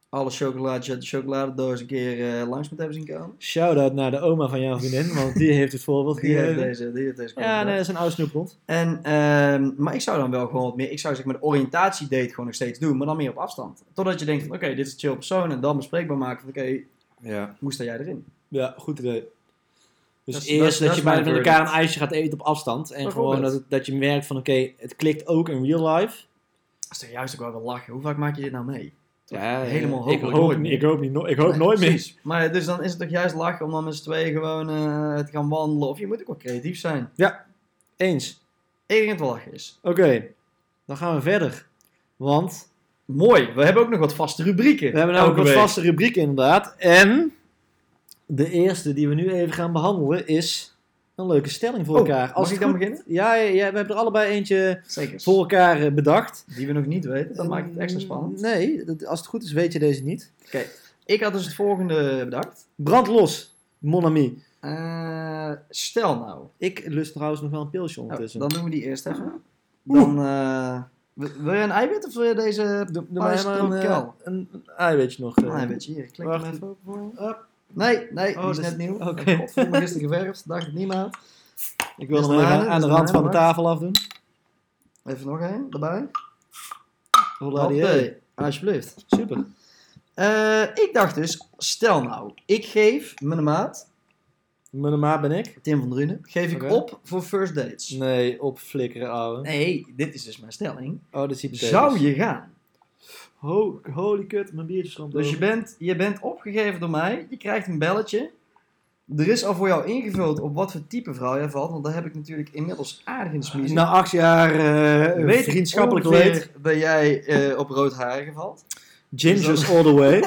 alle chocolaatjes uit de chocoladedoos een keer eh, langs moet hebben zien komen.
Shout-out naar de oma van jouw vriendin, want die heeft het voorbeeld
Die heeft
gegeven.
deze, die heeft deze
Ja,
kant.
nee, dat is een oude snoephond.
En, ehm, maar ik zou dan wel gewoon wat meer, ik zou zeg maar de oriëntatiedate gewoon nog steeds doen, maar dan meer op afstand. Totdat je denkt van oké, dit is een chill persoon en dan bespreekbaar maken van oké,
Ja.
hoe sta jij erin?
Ja, goed idee. Dus
Dat is- dat is-
eerst dat,
dat
je
is
bijna
mijn
met elkaar een
verdict.
ijsje gaat eten op afstand. En
Bijvoorbeeld.
gewoon dat, het- dat je merkt van oké, het klikt ook in real life.
Dat is toch juist ook wel wel lachen. Hoe vaak maak je dit nou mee?
Ja,
helemaal
ik
hopelijk
hoop,
nooit
niet-
meer.
ik hoop, niet, no- ik hoop
Nee,
nooit meer.
precies. Maar dus dan is het toch juist lachen om dan met z'n tweeën gewoon eh, te gaan wandelen. Of je moet ook wel creatief zijn.
Eens.
Ik denk dat het wel lachen is.
Oké, dan gaan we verder. Want
Mooi, we hebben ook nog wat vaste rubrieken.
We hebben namelijk
Elke
wat
week.
vaste rubrieken inderdaad. En de eerste die we nu even gaan behandelen is een leuke stelling voor
Oh,
elkaar.
Mag
het
ik dan
goed-
beginnen?
Ja, ja, ja, we hebben er allebei eentje
Zeker.
voor elkaar eh, bedacht. Eh,
Die we nog niet weten, dat maakt het extra spannend.
Nee, dat- als het goed is weet je deze niet.
Ik had dus het volgende bedacht.
Brand los, mon ami.
Eh, stel nou,
Ik lust trouwens nog wel een pilsje
nou,
ondertussen.
dan doen we die eerst even. Dan, eh, w- wil je een eiwit of wil je deze
Doe, doe maar
Pais
helemaal een, eh,
tropicaal.
een, een eiwitje nog. eh.
Een eiwitje hier, klik
Wacht.
hem even op.
Hop.
Nee, nee,
Oh,
die is
dat is-
net nieuw.
oké.
Oké. Godverdomme, gisteren geverfd, dacht ik niet meer. aan.
Ik wil
Is
hem
het
even
mijn-
aan
is
de
het
rand van de
mijn
tafel afdoen.
Even nog één erbij.
Hola, die hey.
Hoppé, alsjeblieft.
Super.
Eh, ik dacht dus, stel nou, ik geef mijn maat,
Mijn maat ben ik.
Tim van Drunen, geef ik
Oké.
op voor first dates.
Nee, opflikkeren ouwe.
Nee, dit is dus mijn stelling.
Oh, dat is hypothetisch.
Zou je gaan?
Ho- holy kut, mijn biertje stroomt
Dus je
over.
bent, je bent opgegeven door mij, je krijgt een belletje. Er is al voor jou ingevuld op wat voor type vrouw jij valt, want daar heb ik natuurlijk inmiddels aardig in de smiezen.
Na acht jaar Nou, eh,
Weet ik
vriendschappelijk
ongeveer
leed.
dat jij eh, op roodharigen valt.
Gingers all the way.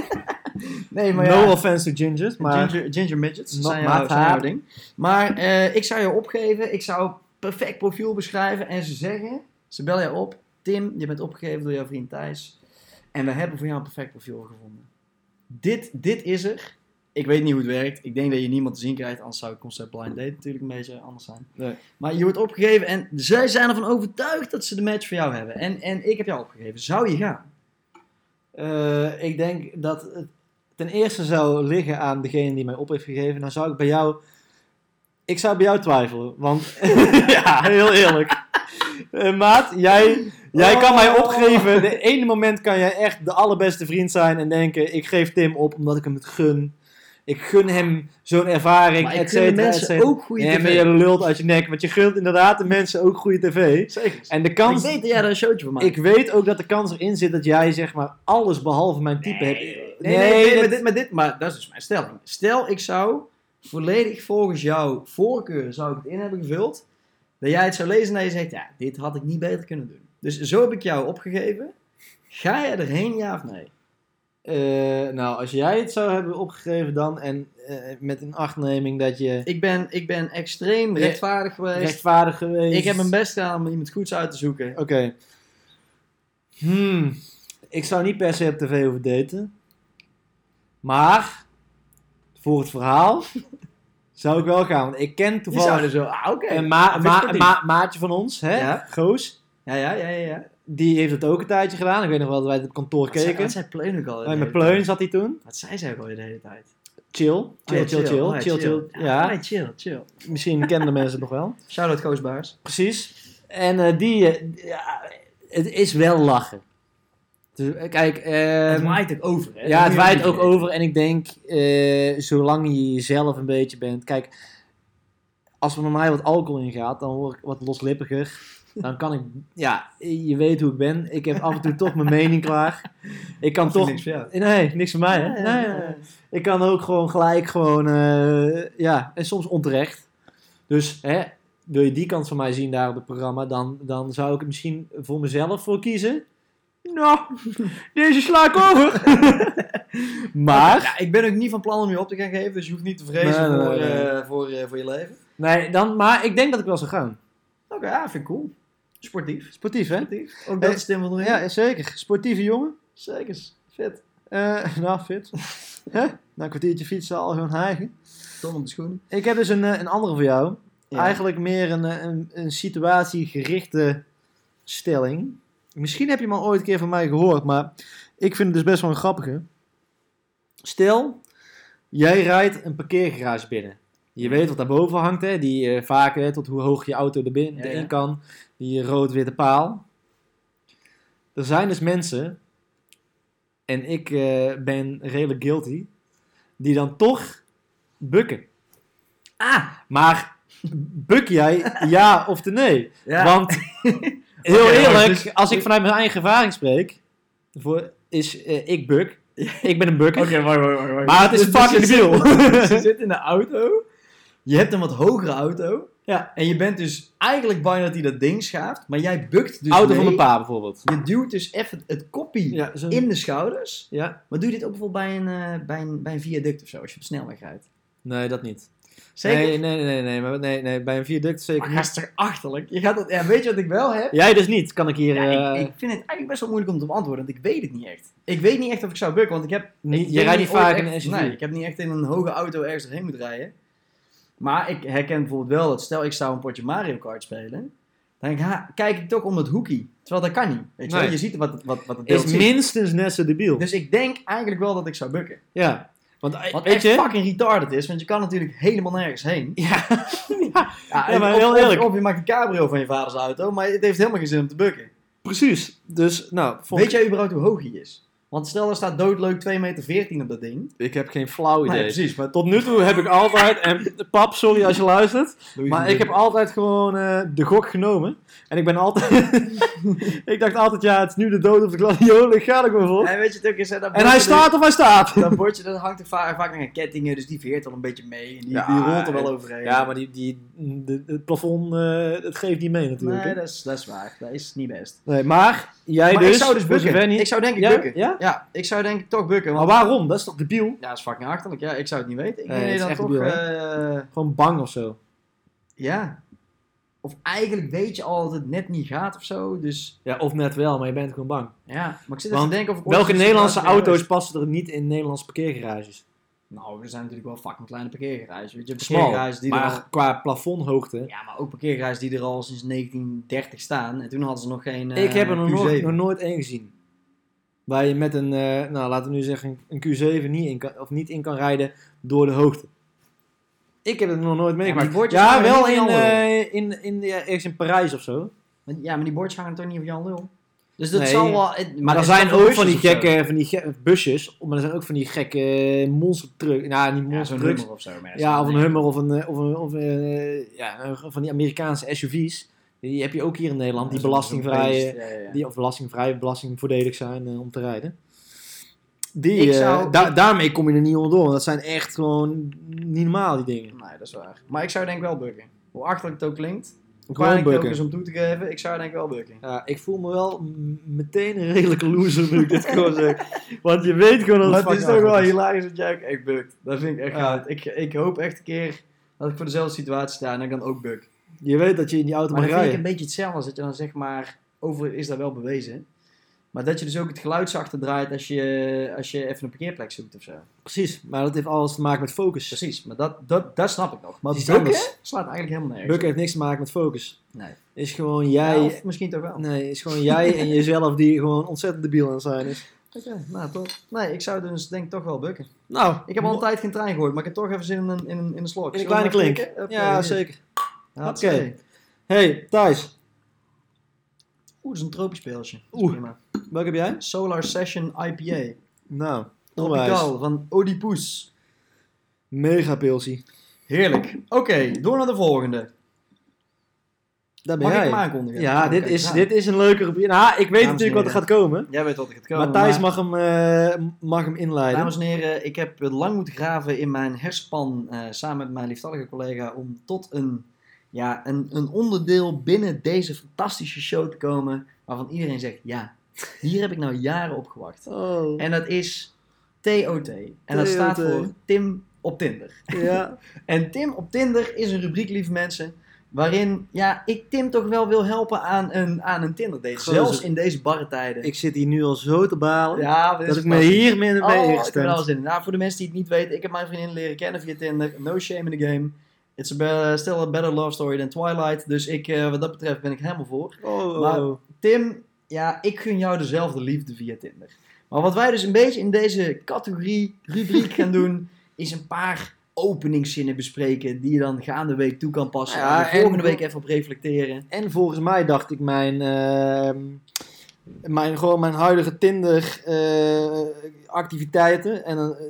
Nee,
no
maar ja,
offense to gingers, maar...
ginger, ginger midgets
Not
zijn
my
jouw, zijn jouw
type.
ding. Maar eh, ik zou je opgeven, ik zou perfect profiel beschrijven en ze zeggen, ze bellen jou op, Tim, je bent opgegeven door jouw vriend Thijs en we hebben voor jou een perfect profiel gevonden. Dit, dit is er. Ik weet niet hoe het werkt. Ik denk dat je niemand te zien krijgt, anders zou het concept blind date natuurlijk een beetje anders zijn.
Nee.
Maar je wordt opgegeven en zij zijn ervan overtuigd dat ze de match voor jou hebben. En, en ik heb jou opgegeven. Zou je gaan?
Eh, ik denk dat het ten eerste zou liggen aan degene die mij op heeft gegeven. Dan zou ik bij jou... Ik zou bij jou twijfelen, want... ja, heel eerlijk. Eh, maat, jij, jij kan mij opgeven. De ene moment kan jij echt de allerbeste vriend zijn en denken... Ik geef Tim op omdat ik hem het gun. Ik gun hem zo'n ervaring,
maar
et
ik gun de
cetera, et
mensen
cetera.
ook goede
Nee, maar
tv.
je lult uit je nek, want je gunt inderdaad de mensen ook goede tv.
Zeker.
En de
Kan ik
kans...
weet dat jij daar een showtje van maakt.
Ik weet ook dat de kans erin zit dat jij zeg maar alles behalve mijn type hebt.
Nee, nee,
dat-
nee, maar, dit, maar, dit, maar dat is dus mijn stelling. Stel, ik zou volledig volgens jouw voorkeur zou ik het in hebben gevuld. Dat jij het zou lezen en dat je zegt, ja, dit had ik niet beter kunnen doen. Dus zo heb ik jou opgegeven. Ga jij erheen, ja of nee?
Eh, nou, als jij het zou hebben opgegeven dan en eh, met een achtneming dat je
Ik ben, ik ben extreem
Re-
rechtvaardig geweest.
rechtvaardig geweest...
Ik heb mijn best gedaan om iemand goeds uit te zoeken.
Oké. Hmm. Ik zou niet per se op tv over daten. Maar, voor het verhaal, zou ik wel gaan. Want ik ken
Die zouden
toevallig
zo, ah, oké.
een, ma-
Vind ik
ma-
sportief.
ma- maatje van ons, hè?
Ja.
Goos.
Ja, ja, ja, ja. ja.
Die heeft het ook een tijdje gedaan. Ik weet nog wel dat wij het op kantoor
Wat zei,
keken.
wat zei Pleun ook al? de
Bij mijn
hele
pleun
tijd?
zat hij toen.
Wat zei zij ook al de hele tijd?
Chill. Chill,
Oh ja,
chill, chill,
Oh ja,
chill, chill.
Ja,
Ja,
ja, chill, chill.
misschien kenden mensen het nog wel.
Shout-out Koos Baars.
Precies. En eh, die, eh, ja, het is wel lachen. Dus, eh, kijk, ehm,
het waait ook over, hè?
ja,
Dat
het
moet je
waait ook
niet vergeten.
over. En ik denk, eh, zolang je jezelf een beetje bent. Kijk, als er bij mij wat alcohol in gaat, dan word ik wat loslippiger. Dan kan ik, ja, je weet hoe ik ben. Ik heb af en toe toch mijn mening klaar. Ik kan toch.
Niks voor jou.
Nee, niks van mij. Hè?
Ja,
Nee,
ja,
nee, nee.
ja.
Ik kan ook gewoon gelijk gewoon, eh, ja, en soms onterecht. Dus hè, wil je die kant van mij zien daar op het programma, dan, dan zou ik er misschien voor mezelf voor kiezen. Nou, deze sla ik over. maar,
Ja, ik ben ook niet van plan om je op te gaan geven, dus je hoeft niet te vrezen
Nee, nee,
voor,
nee, nee.
eh, voor, eh, voor je leven.
nee, dan, maar ik denk dat ik wel zou gaan.
Oké, ja, vind ik cool. Sportief.
Sportief, hè?
Sportief. Ook
Eh,
dat is Tim van der Heer.
Ja, zeker. Sportieve jongen.
Zeker. Vet.
Eh nou, fit. Hè? Na een kwartiertje fietsen al zo'n hijgen.
Tom op de schoen.
Ik heb dus een, eh, een andere voor jou.
Ja.
Eigenlijk meer een, eh, een, een situatiegerichte stelling. Misschien heb je hem al ooit een keer van mij gehoord, maar ik vind het dus best wel een grappige. Stel, jij rijdt een parkeergarage binnen. Je weet wat daarboven hangt, hè? die eh, vaak hè, tot hoe hoog je auto er binnen,
Ja, ja.
erin kan. Die rood-witte paal. Er zijn dus mensen, en ik eh, ben redelijk guilty, die dan toch bukken.
Ah!
Maar buk jij ja of de nee?
Ja.
Want heel
Oké,
eerlijk,
dus-
als ik vanuit mijn eigen ervaring spreek, voor, is eh, ik buk. Ik ben een bukker.
wacht, wacht, wacht, wacht.
Maar het is
Dus- dus
fucking
je zit- dus
debiel.
je zit in de auto. Je hebt een wat hogere auto.
Ja.
En je bent dus eigenlijk bang dat hij dat ding schaaft. Maar jij bukt dus
Auto
mee.
van mijn pa bijvoorbeeld.
Je duwt dus even het koppie
Ja, zo-
in de schouders.
ja?
Maar doe je dit ook bijvoorbeeld bij een, eh, bij een, bij een viaduct of zo, als je op de snelweg rijdt?
Nee, dat niet.
Zeker?
Nee, nee, nee, nee, nee, maar nee, nee, bij een viaduct zeker
Maar
niet.
dat is toch achterlijk? Je gaat dat, ja, weet je wat ik wel heb?
Jij dus niet, kan ik hier...
Ja,
eh,
ik, ik vind het eigenlijk best wel moeilijk om te beantwoorden, want ik weet het niet echt. Ik weet niet echt of ik zou bukken, want ik heb...
Niet-
ik
je
denk
rijdt niet
ooit
vaak in
echt-
een SUV.
Nee, ik heb niet echt in een hoge auto ergens heen moeten rijden. Maar ik herken bijvoorbeeld wel dat stel ik zou een potje Mario Kart spelen, dan ga- kijk ik toch om het hoekie. Terwijl dat kan niet. Weet je, wel?
Nee.
je ziet wat, het- wat, wat het beeld
is
ziet.
minstens net zo debiel.
Dus ik denk eigenlijk wel dat ik zou bukken.
ja. Want, eh,
Wat
weet
echt
je...
fucking retarded is, want je kan natuurlijk helemaal nergens heen.
Ja.
Ja,
Ja, maar
of-
heel
of-
eerlijk.
Of, je maakt een cabrio van je vaders auto, maar het heeft helemaal geen zin om te bukken.
precies. Dus, nou...
Weet jij überhaupt hoe hoog hij is? Want stel, er staat doodleuk 2,14 meter op dat ding.
Ik heb geen flauw
Nee,
idee.
precies. Maar
Tot nu toe heb ik altijd... En pap, sorry als je luistert. Maar ik heb altijd gewoon eh, de gok genomen. En ik ben altijd. ik dacht altijd, ja, het is nu de dood of de gladiolen. Ga ik maar voor.
En weet je, het ook is, hè, dat
En hij
bordje-
staat of hij staat.
Dat bordje dat hangt er vaak, vaak aan kettingen, dus die veert al een beetje mee. En die,
Ja,
die rolt er wel overheen.
Ja, maar die, die, de- het plafond, eh, het geeft niet mee natuurlijk. hè.
Nee, dat is, dat is waar. Dat is niet best.
Nee, maar jij
maar
dus.
ik zou dus
voor
bukken.
zover niet-
Ik zou denk ik
ja?
bukken.
Ja?
Ja, ik zou denk ik toch bukken.
Maar
Want
waarom? Dat is toch debiel?
ja, dat is fucking achterlijk. Ja, ik zou het niet weten. Ik
Nee,
denk
het is
dat
echt
toch...
debiel,
eh,
Gewoon bang of zo.
ja. Of eigenlijk weet je al dat het net niet gaat of zo, dus...
Ja, of net wel, maar je bent gewoon bang.
Ja, maar ik zit even
Want
te denken of ik ooit
Welke
zo'n
Nederlandse
situatie ben
auto's passen er niet in Nederlandse parkeergarages?
Nou, er zijn natuurlijk wel fucking kleine parkeergarages. Weet je,
Smal.
parkeergarages die er
Maar qua plafondhoogte.
al, Ja, maar ook parkeergarages die er al sinds 1930 staan. En toen hadden ze nog geen eh,
Ik heb er nog, nooit-
Q7.
nog nooit één gezien. Waar je met een, eh, nou laten we nu zeggen, een Q7 niet in kan, of niet in kan rijden door de hoogte. Ik heb het nog nooit
maar
meegemaakt.
die bordjes
Ja,
hangen
wel
niet
in,
van Jan
eh, in, in, ja, ergens in Parijs of zo.
Want- Ja, maar die bordjes hangen toch niet op Jan Lul? Dus dat
Nee.
zal wel... het-
Maar er
is dat
zijn
voor
ook
busjes
van die
of zo?
gekke van die ge- busjes, maar er zijn ook van die gekke eh, monster truck. Nou, niet
Ja,
monster
zo'n
trucks.
nummer of zo. maar
Ja,
dat
of een
is niet-
Hummer of een, eh, of een, of, eh, ja, een- van die Amerikaanse SUV's. Die heb je ook hier in Nederland, die
Zo'n-
belastingvrij.
zo'n beest, ja, ja, ja.
die of belastingvrij, belastingvoordelig zijn eh, om te rijden. Die,
Ik
eh,
zou-
da- daarmee kom je er niet onderdoor. want Dat zijn echt gewoon niet normaal, die dingen.
Nee, dat is waar. Maar ik zou denk ik wel bukken. Hoe achterlijk het ook klinkt. Hoe
Gewoon
pijnlijk het ook
bukken.
is om toe te geven. Ik zou denk ik wel bukken.
Ja, ik voel me wel m- meteen een redelijke loser nu ik dit gewoon zeg. Want je weet gewoon dat
Maar het is
fucking
toch wel
hard
hilarisch dat jij ook echt bukt. Dat vind ik echt
nou, Ja.
gaaf. Ik, ik hoop echt een keer dat ik voor dezelfde situatie sta en dat ik dan ook buk.
Je weet dat je in die auto
Maar
mag
dat vind ik
rijden.
een beetje hetzelfde als dat je dan zeg maar, over is dat wel bewezen. Maar dat je dus ook het geluid zachter draait als je, als je even een parkeerplek zoekt of zo.
Precies, maar dat heeft alles te maken met focus.
Precies, maar dat, dat, dat snap ik nog. Maar
Het is
bukken
anders.
slaat eigenlijk helemaal nergens.
Buk heeft niks te maken met focus.
Nee.
Is gewoon
Ja,
jij...
of misschien toch wel.
Nee, is gewoon jij en jezelf die gewoon ontzettend debiel aan het zijn is.
Oké, nou toch. Nee, ik zou dus denk ik toch wel bukken.
Nou,
Ik heb al een tijd geen trein gehoord, maar ik heb toch even zin in een, in een, in een slok.
in een
Zullen we
kleine
maar
klink.
even klikken? Hup,
Ja,
hier.
zeker.
Hartstikke.
Oké. Hey, Thijs.
Oeh, dat is een tropisch speeltje.
Oeh.
Oeh. Prima.
Welke heb jij?
Solar Session IPA.
Nou, onwijs.
Tropicaal van Oedipus.
Mega pilsie.
Heerlijk. Oké, door naar de volgende.
Daar ben
Mag ik
jij.
hem aankondigen?
ja, dit
Oké,
is,
nou.
dit is een leuke rubriek. Nou, ik weet
Dames en
natuurlijk wat er gaat
heren.
komen.
Jij weet wat ik het kan.
Maar Thijs mag hem, eh, mag hem inleiden.
Dames en heren, ik heb lang moeten graven in mijn hersenpan eh, samen met mijn lieftallige collega om tot een, ja, een, een onderdeel binnen deze fantastische show te komen waarvan iedereen zegt ja. Hier heb ik nou jaren op gewacht.
Oh,
En dat is TOT. En dat
TOT.
staat voor Tim op Tinder.
ja.
En Tim op Tinder is een rubriek, lieve mensen, waarin ja, ik Tim toch wel wil helpen aan een, aan een Tinder date.
Gozer.
Zelfs in deze barre tijden.
Ik zit hier nu al zo te balen.
ja, maar dit
Dat
is
ik me
fantastisch.
hier minder
Oh,
mee
ik heb er
ingestemd.
alles in. Nou, voor de mensen die het niet weten, ik heb mijn vriendin leren kennen via Tinder. No shame in the game. It's a be- still a better love story than Twilight. Dus ik, eh, wat dat betreft ben ik helemaal voor.
Oh,
Maar-
oh.
Tim, ja, ik gun jou dezelfde liefde via Tinder. Maar wat wij dus een beetje in deze categorie, rubriek gaan doen, is een paar openingszinnen bespreken die je dan gaande week toe kan passen.
Ja,
en de volgende
en-
week even op reflecteren.
En volgens mij dacht ik mijn, ehm, mijn, gewoon mijn huidige Tinder eh, activiteiten. En dan eh,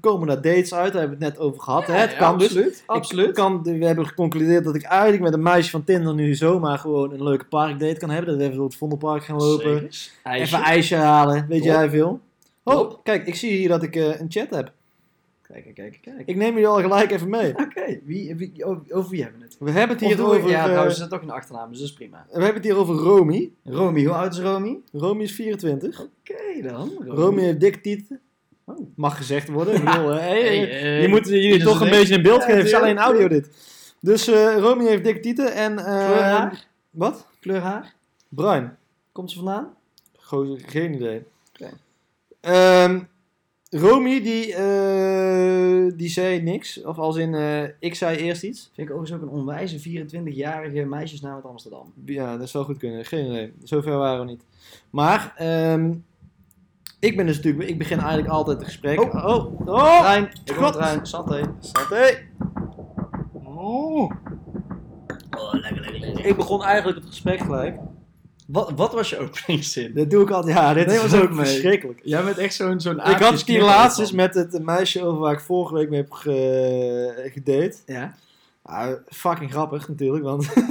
komen daar dates uit, daar hebben we het net over gehad. hè? Het kan dus.
absoluut.
Ik Kan, we hebben geconcludeerd dat ik eigenlijk met een meisje van Tinder nu zomaar gewoon een leuke parkdate kan hebben. Dat we even door het Vondelpark gaan lopen.
Zeker. IJsje.
Even ijsje halen, weet
Top.
jij veel.
Top.
Oh, kijk, ik zie hier dat ik eh, een chat heb.
Kijk, kijk, kijk.
Ik neem jullie al gelijk even mee.
Oké, wie, wie, over, over wie hebben we het?
We hebben het
Of
hier
doen we-
over,
ja,
eh,
trouwens, is dat ook een achternaam, dus dat is prima.
we hebben het hier over Romy.
Romy, hoe oud is Romy?
Romy is 24.
Oké dan.
Romy heeft dikke tieten.
Oh.
Mag gezegd worden. Ik bedoel, hè, hey,
Hey,
eh,
eh,
je moet jullie
ieder
toch een
zijn
beetje een beeld
Ja,
geven. Het is alleen
tuurlijk,
audio dit. Dus eh Romy heeft dikke tieten en... eh,
Kleur haar?
Wat?
Kleur haar?
Bruin.
Komt ze vandaan?
Gozer, geen idee.
Oké.
Ehm, Romy die, eh, die zei niks. Of als in, eh, ik zei eerst iets.
Vind ik overigens ook een onwijze 24-jarige meisjesnaam uit Amsterdam.
Ja, dat zou goed kunnen. Geen idee. Zover waren we niet. Maar, ehm, ik ben dus natuurlijk... Ik begin eigenlijk altijd het gesprek.
Oh.
oh. oh.
Trein, ik hoor
God.
trein, santé.
Santé. Oh.
Oh, lekker, lekker, lekker.
Ik begon eigenlijk het gesprek gelijk.
Wat, wat was je openingszin?
Dat doe ik altijd. Ja, dit
Nee,
is
was
ook
ook mee.
verschrikkelijk.
Jij bent echt zo'n zo'n
ik had het hier laatst eens met het meisje over waar ik vorige week mee heb ge- gedate.
Ja?
Ah, fucking grappig natuurlijk, want...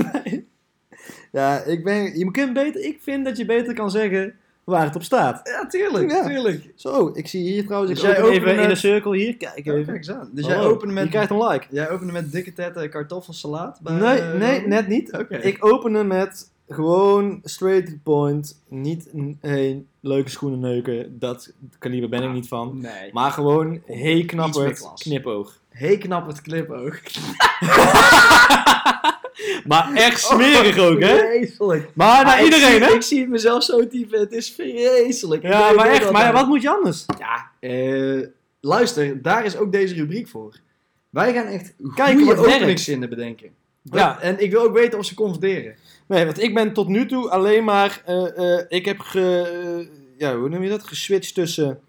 ja, ik ben... Je kunt beter... Ik vind dat je beter kan zeggen waar het op staat.
Ja, tuurlijk,
Ja.
tuurlijk.
Zo, ik zie hier trouwens...
Dus
ik
jij
open even
opende
in de
het-
cirkel hier. Kijk
Ja,
even.
kijk eens aan. Dus jij
Hallo,
opende
Je
met,
krijgt een like.
jij opende met dikke tetten kartoffelsalaat? bij,
Nee,
eh,
nee,
Romy?
net niet.
Oké.
Ik openen met gewoon straight to the point. Niet een hey, leuke schoenen neuken. Dat kaliber ben ik niet van.
Nee.
Maar gewoon hey
Ah. meer
knapperd
klas.
knipoog.
Hey, knap het clip ook.
Maar echt smerig ook, hè?
Vreselijk.
Maar naar
Ah, Oh. ik
iedereen,
zie-
hè?
Ik zie het mezelf zo typen, het is vreselijk. Ik
Ja,
weet
maar
het
echt.
wel,
Maar
man.
wat moet je anders?
Ja, eh, luister, daar is ook deze rubriek voor. Wij gaan echt
Kijken
goede
wat werkt.
openingszinnen bedenken. Dat-
Ja.
En ik wil ook weten of ze confronteren.
Nee, want ik ben tot nu toe alleen maar... eh, eh, ik heb ge... eh, ja, hoe noem je dat? Geswitcht tussen...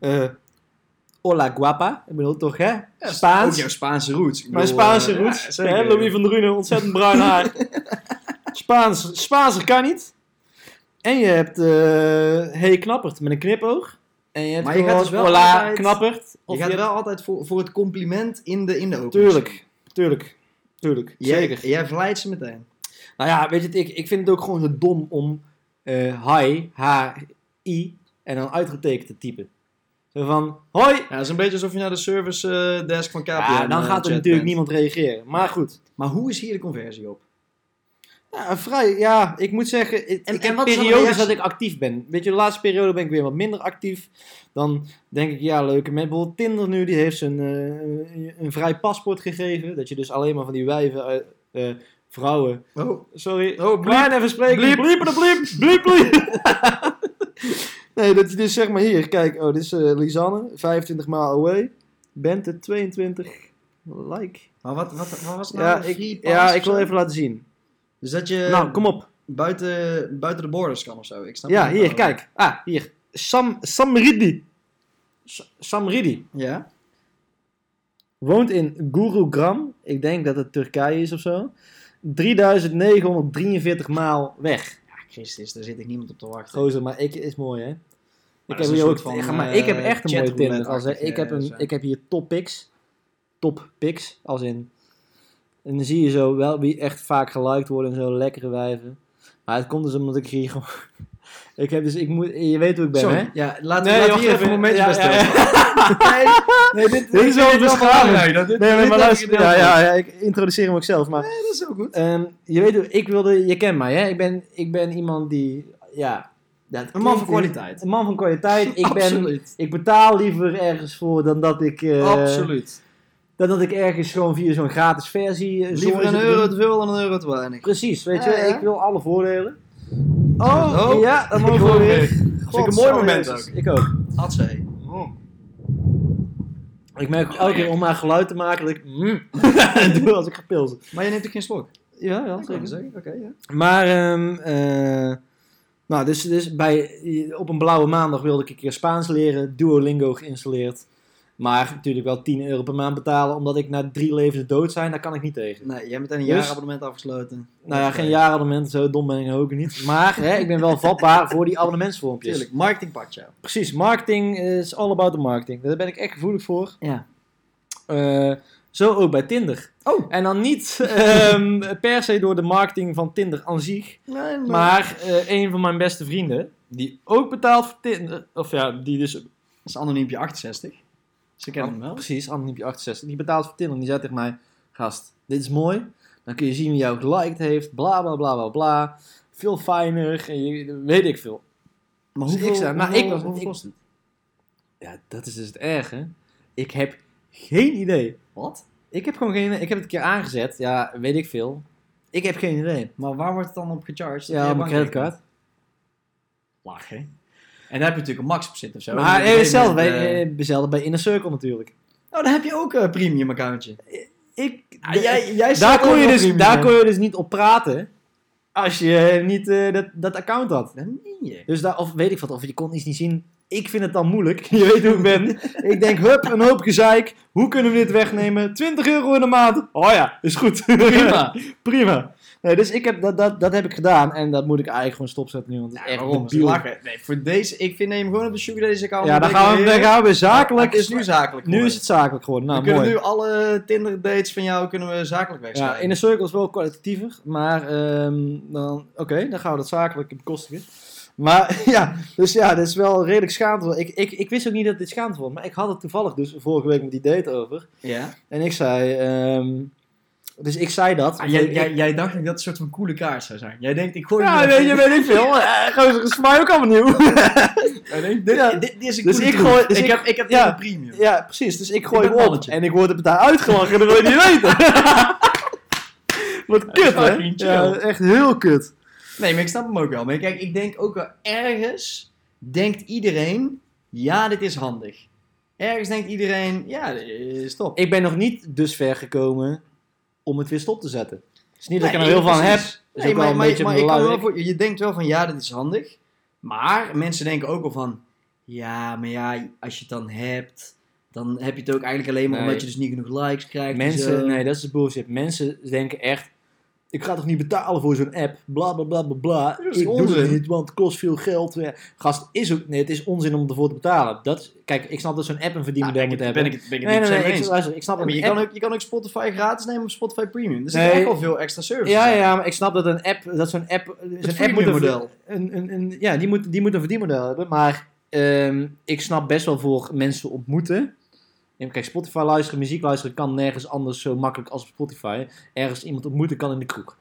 eh hola guapa. Ik bedoel toch, hè?
Ook
Spaans.
jouw Spaanse roots. Ik
Mijn
bedoel, eh,
Spaanse
ja,
roots.
zeker.
hè, Louis van Drunen, ontzettend bruin haar. Spaans, Spaanser kan niet. En je hebt eh Hey Knappert met een knipoog. En je hebt
Maar je gaat
gewoon
dus wel
Hola
altijd-
Knappert.
Je
Of
gaat wel altijd voor, voor het compliment in de, in de opening.
Tuurlijk, tuurlijk, tuurlijk.
Jij,
Zeker.
Jij verleidt ze meteen.
Nou ja, weet je, het, ik, ik vind het ook gewoon zo dom om eh, hi, H-I en dan uitgetekend te typen. Zo van, hoi.
Ja, dat is een beetje alsof je naar de service eh, desk van KPN
Ja, dan gaat
eh,
er
chat
natuurlijk
bent.
niemand reageren. Maar goed.
Maar hoe is hier de conversie op?
Ja, vrij, ja, ik moet zeggen, ik,
En-
ik
en
heb
wat is dan de
periodes
reactie?
dat ik actief ben. Weet je, de laatste periode ben ik weer wat minder actief. Dan denk ik, ja, leuke mensen. Bijvoorbeeld Tinder nu, die heeft zijn, eh, een- een vrij paspoort gegeven. Dat je dus alleen maar van die wijven, uit- eh, vrouwen...
Oh,
Sorry,
Oh, bliep.
klein even spreken.
Bliep.
bliep, bliep, bliep, bliep, bliep. nee, dat je dus zeg maar hier, kijk, oh, dit is eh, Lisanne, 25 maal away. Bente, 22 like.
maar wat, wat, wat was nou
Ja
de
ik,
free pass
ja,
of
ik wil
zo?
even laten zien.
Dus dat je
nou, kom op.
buiten, buiten de borders kan of zo. Ik snap
Ja,
het niet
hier,
wel.
kijk. Ah, hier. Sam, Samridi. S- Samridi.
Ja?
Woont in Gurugram. Ik denk dat het Turkije is of zo. 3943 maal weg.
ja, Christus, daar zit ik niemand op te wachten.
Gozer, maar ik is mooi, hè?
dat
Ik
is
heb,
een
hier
soort
ook,
van,
ja, maar
eh,
ik heb echt een mooie
chatroulette-achtig,
Tinder. Als, hè. ik, heb
eh,
een,
zo.
ik heb hier topics. top picks. Als in. En dan zie je zo wel wie echt vaak geliked worden en zo lekkere wijven. Maar het komt dus omdat ik hier gewoon. ik heb dus. Ik moet, je weet hoe ik ben,
Sorry,
hè?
ja, laten we laten we
wacht
hier even een momentje
Ja,
bij
ja,
stilstaan.
ja. Nee, dit,
Dit is wel
dit
beschamend.
beschamend. Nee,
Dit- dit
maar
heb ik
luister.
heel
Ja,
goed.
ja, ja, ik introduceer hem ook zelf. Maar
Nee, dat is heel goed.
Ehm, je weet, hoe- ik wilde, je kent mij, hè? Ik ben, ik ben iemand die, ja, dat
Een man van
klinkt-
kwaliteit.
Een man van kwaliteit. Ik ben,
Absoluut.
ik betaal liever ergens voor dan dat ik, eh,
Absoluut.
dan dat ik ergens gewoon via zo'n gratis versie. eh,
Liever
zo'n-
een euro te veel dan een euro te weinig.
Precies, weet
Ja,
je,
ja.
ik wil alle voordelen.
Oh,
ja, dat
ik
mogen
hoor
we
hem
weer.
Vind ik een mooi moment ook.
Ik ook.
Hatsé.
Mm. Ik merk elke keer om haar geluid te maken dat ik mm, doe als ik ga pilsen.
Maar je neemt ook geen slok.
Ja, ja,
kan je zeggen. Oké, ja.
Maar, ehm, eh, nou, dus, dus bij, op een blauwe maandag wilde ik een keer Spaans leren, Duolingo geïnstalleerd. Maar natuurlijk wel 10 euro per maand betalen, omdat ik na drie levens dood zijn, daar kan ik niet tegen.
Nee, jij hebt meteen een
Dus-
jaarabonnement afgesloten.
Nou ja,
Oké.
geen jaarabonnement, zo dom ben ik nou ook niet. Maar hè, ik ben wel vatbaar voor die abonnementsvormpjes.
Tuurlijk, marketing pakt jou.
Precies, marketing is all about the marketing. Daar ben ik echt gevoelig voor.
Ja.
Eh, zo ook bij Tinder.
Oh.
En dan niet ehm, per se door de marketing van Tinder aan zich,
Nee,
Maar eh, een van mijn beste vrienden, die ook betaalt voor Tinder, of ja, die dus...
Dat is anoniempje 68. Ze kennen hem wel.
Precies, Anoniempje 68, die betaalt voor Tinder. En die zei tegen mij, gast, dit is mooi. Dan kun je zien wie jou geliked heeft, bla bla bla bla bla. Veel fijner, en je, weet ik veel.
Maar
Dus
hoeveel,
ik zei, nou,
hoeveel-
ik was-
hoeveel
ik-
kost het?
Ja, dat is dus het erge. Ik heb geen idee.
Wat?
Ik heb gewoon geen... Ik heb het een keer aangezet, ja, weet ik veel. Ik heb geen idee.
Maar waar wordt het dan op gecharged?
Ja, op mijn creditcard.
Lach, hè? En daar heb je natuurlijk een max op zitten of zo.
Maar
En op een
eh,
gegeven
zelf,
moment, eh,
bij, eh, zelf bij Inner Circle natuurlijk.
Oh, dan heb je ook een premium accountje.
Ik...
Ah, jij, jij
Daar kon, je dus, daar kon je dus niet op praten als je eh, niet eh, dat, dat account had.
Dat meen je.
Dus daar, of weet ik wat, of je kon iets niet zien. Ik vind het dan moeilijk. Je weet hoe ik ben. ik denk, hup, een hoop gezeik. Hoe kunnen we dit wegnemen? 20 euro in de maand. Oh ja, is goed.
Prima.
Prima. Nee, dus ik heb, dat, dat, dat heb ik gedaan. En dat moet ik eigenlijk gewoon stopzetten nu. Want het is echt
Waarom? Ze
debiel.
lachen. Nee, voor deze, ik vind neem gewoon op de Sugar Daddy's account. eh.
Ja, dan gaan, we, dan gaan we zakelijk.
Het is nu zakelijk.
nu is het zakelijk geworden. Nou,
we kunnen
mooi.
nu alle Tinder dates van jou kunnen we zakelijk
Ja,
wegschrijven.
in de cirkel is wel kwalitatiever, maar ehm, dan, oké, dan gaan we dat zakelijk bekostigen. Maar ja, dus ja, dat is wel redelijk schaamtevol. Ik, ik, ik wist ook niet dat dit schaamtevol was, maar ik had het toevallig dus vorige week met die date over.
ja.
En ik zei, ehm, dus ik zei dat.
Ah, jij,
Ik-
jij, jij dacht dat dat een soort van coole kaart zou zijn. Jij denkt, ik gooi
ja,
hem
weet je,
even-
weet ik veel. Eh, Gozer is voor mij ook allemaal nieuw.
Jij denkt, dit,
Ja.
dit, dit is een
Dus
coole
ik
troef.
gooi- dus
ik,
ik-
heb, ik heb
ja.
dit een premium.
ja, precies. Dus ik gooi
Ik ben
hem op
mannetje.
en ik word er daar uitgelachen. Dat wil je niet weten. Wat kut, hè?
Fucking chill.
Ja, echt heel kut.
Nee, maar ik snap hem ook wel. Maar kijk, ik denk ook wel ergens denkt iedereen, ja, dit is handig. Ergens denkt iedereen, ja, eh, stop.
ik ben nog niet dus ver gekomen om het weer stop te zetten. Het is niet dat ik er
Nee,
heel veel aan heb.
precies.
Dat is
Nee,
ook wel
maar,
een
maar,
beetje
maar ik kan wel
belangrijk.
voor, je denkt wel van, ja, dit is handig. Maar mensen denken ook al van, ja, maar ja, als je het dan hebt, dan heb je het ook eigenlijk alleen maar
Nee.
omdat je dus niet genoeg likes krijgt. Dus, eh, en zo.
Mensen, nee, dat is bullshit. Mensen denken echt, ik ga toch niet betalen voor zo'n app, bla bla bla bla bla.
Dat is
ik doe
onzin.
het niet, want het kost veel geld. Ja, Gast, is ook, nee, het is onzin om ervoor te betalen. Dat, is- kijk, ik snap dat zo'n app een
Nou,
verdienmodel
ben ik
moet
het
hebben.
ben ik het- ben ik het
nee,
niet
nee,
zo
nee,
mee
ik,
eens.
luister, ik snap
Ja,
dat
maar je
een
kan,
app...
ook, je kan ook Spotify gratis nemen op Spotify Premium. Dus Er zit
Nee.
echt wel veel extra services
Ja,
in.
ja, maar ik snap dat een app, dat zo'n app, zo'n app moet een
freemium-model.
Een, een, een, ja, die moet, die moet een verdienmodel hebben, maar ehm, ik snap best wel voor mensen ontmoeten. En Kijk, Spotify luisteren, muziek luisteren kan nergens anders zo makkelijk als op Spotify. Ergens iemand ontmoeten kan in de kroeg.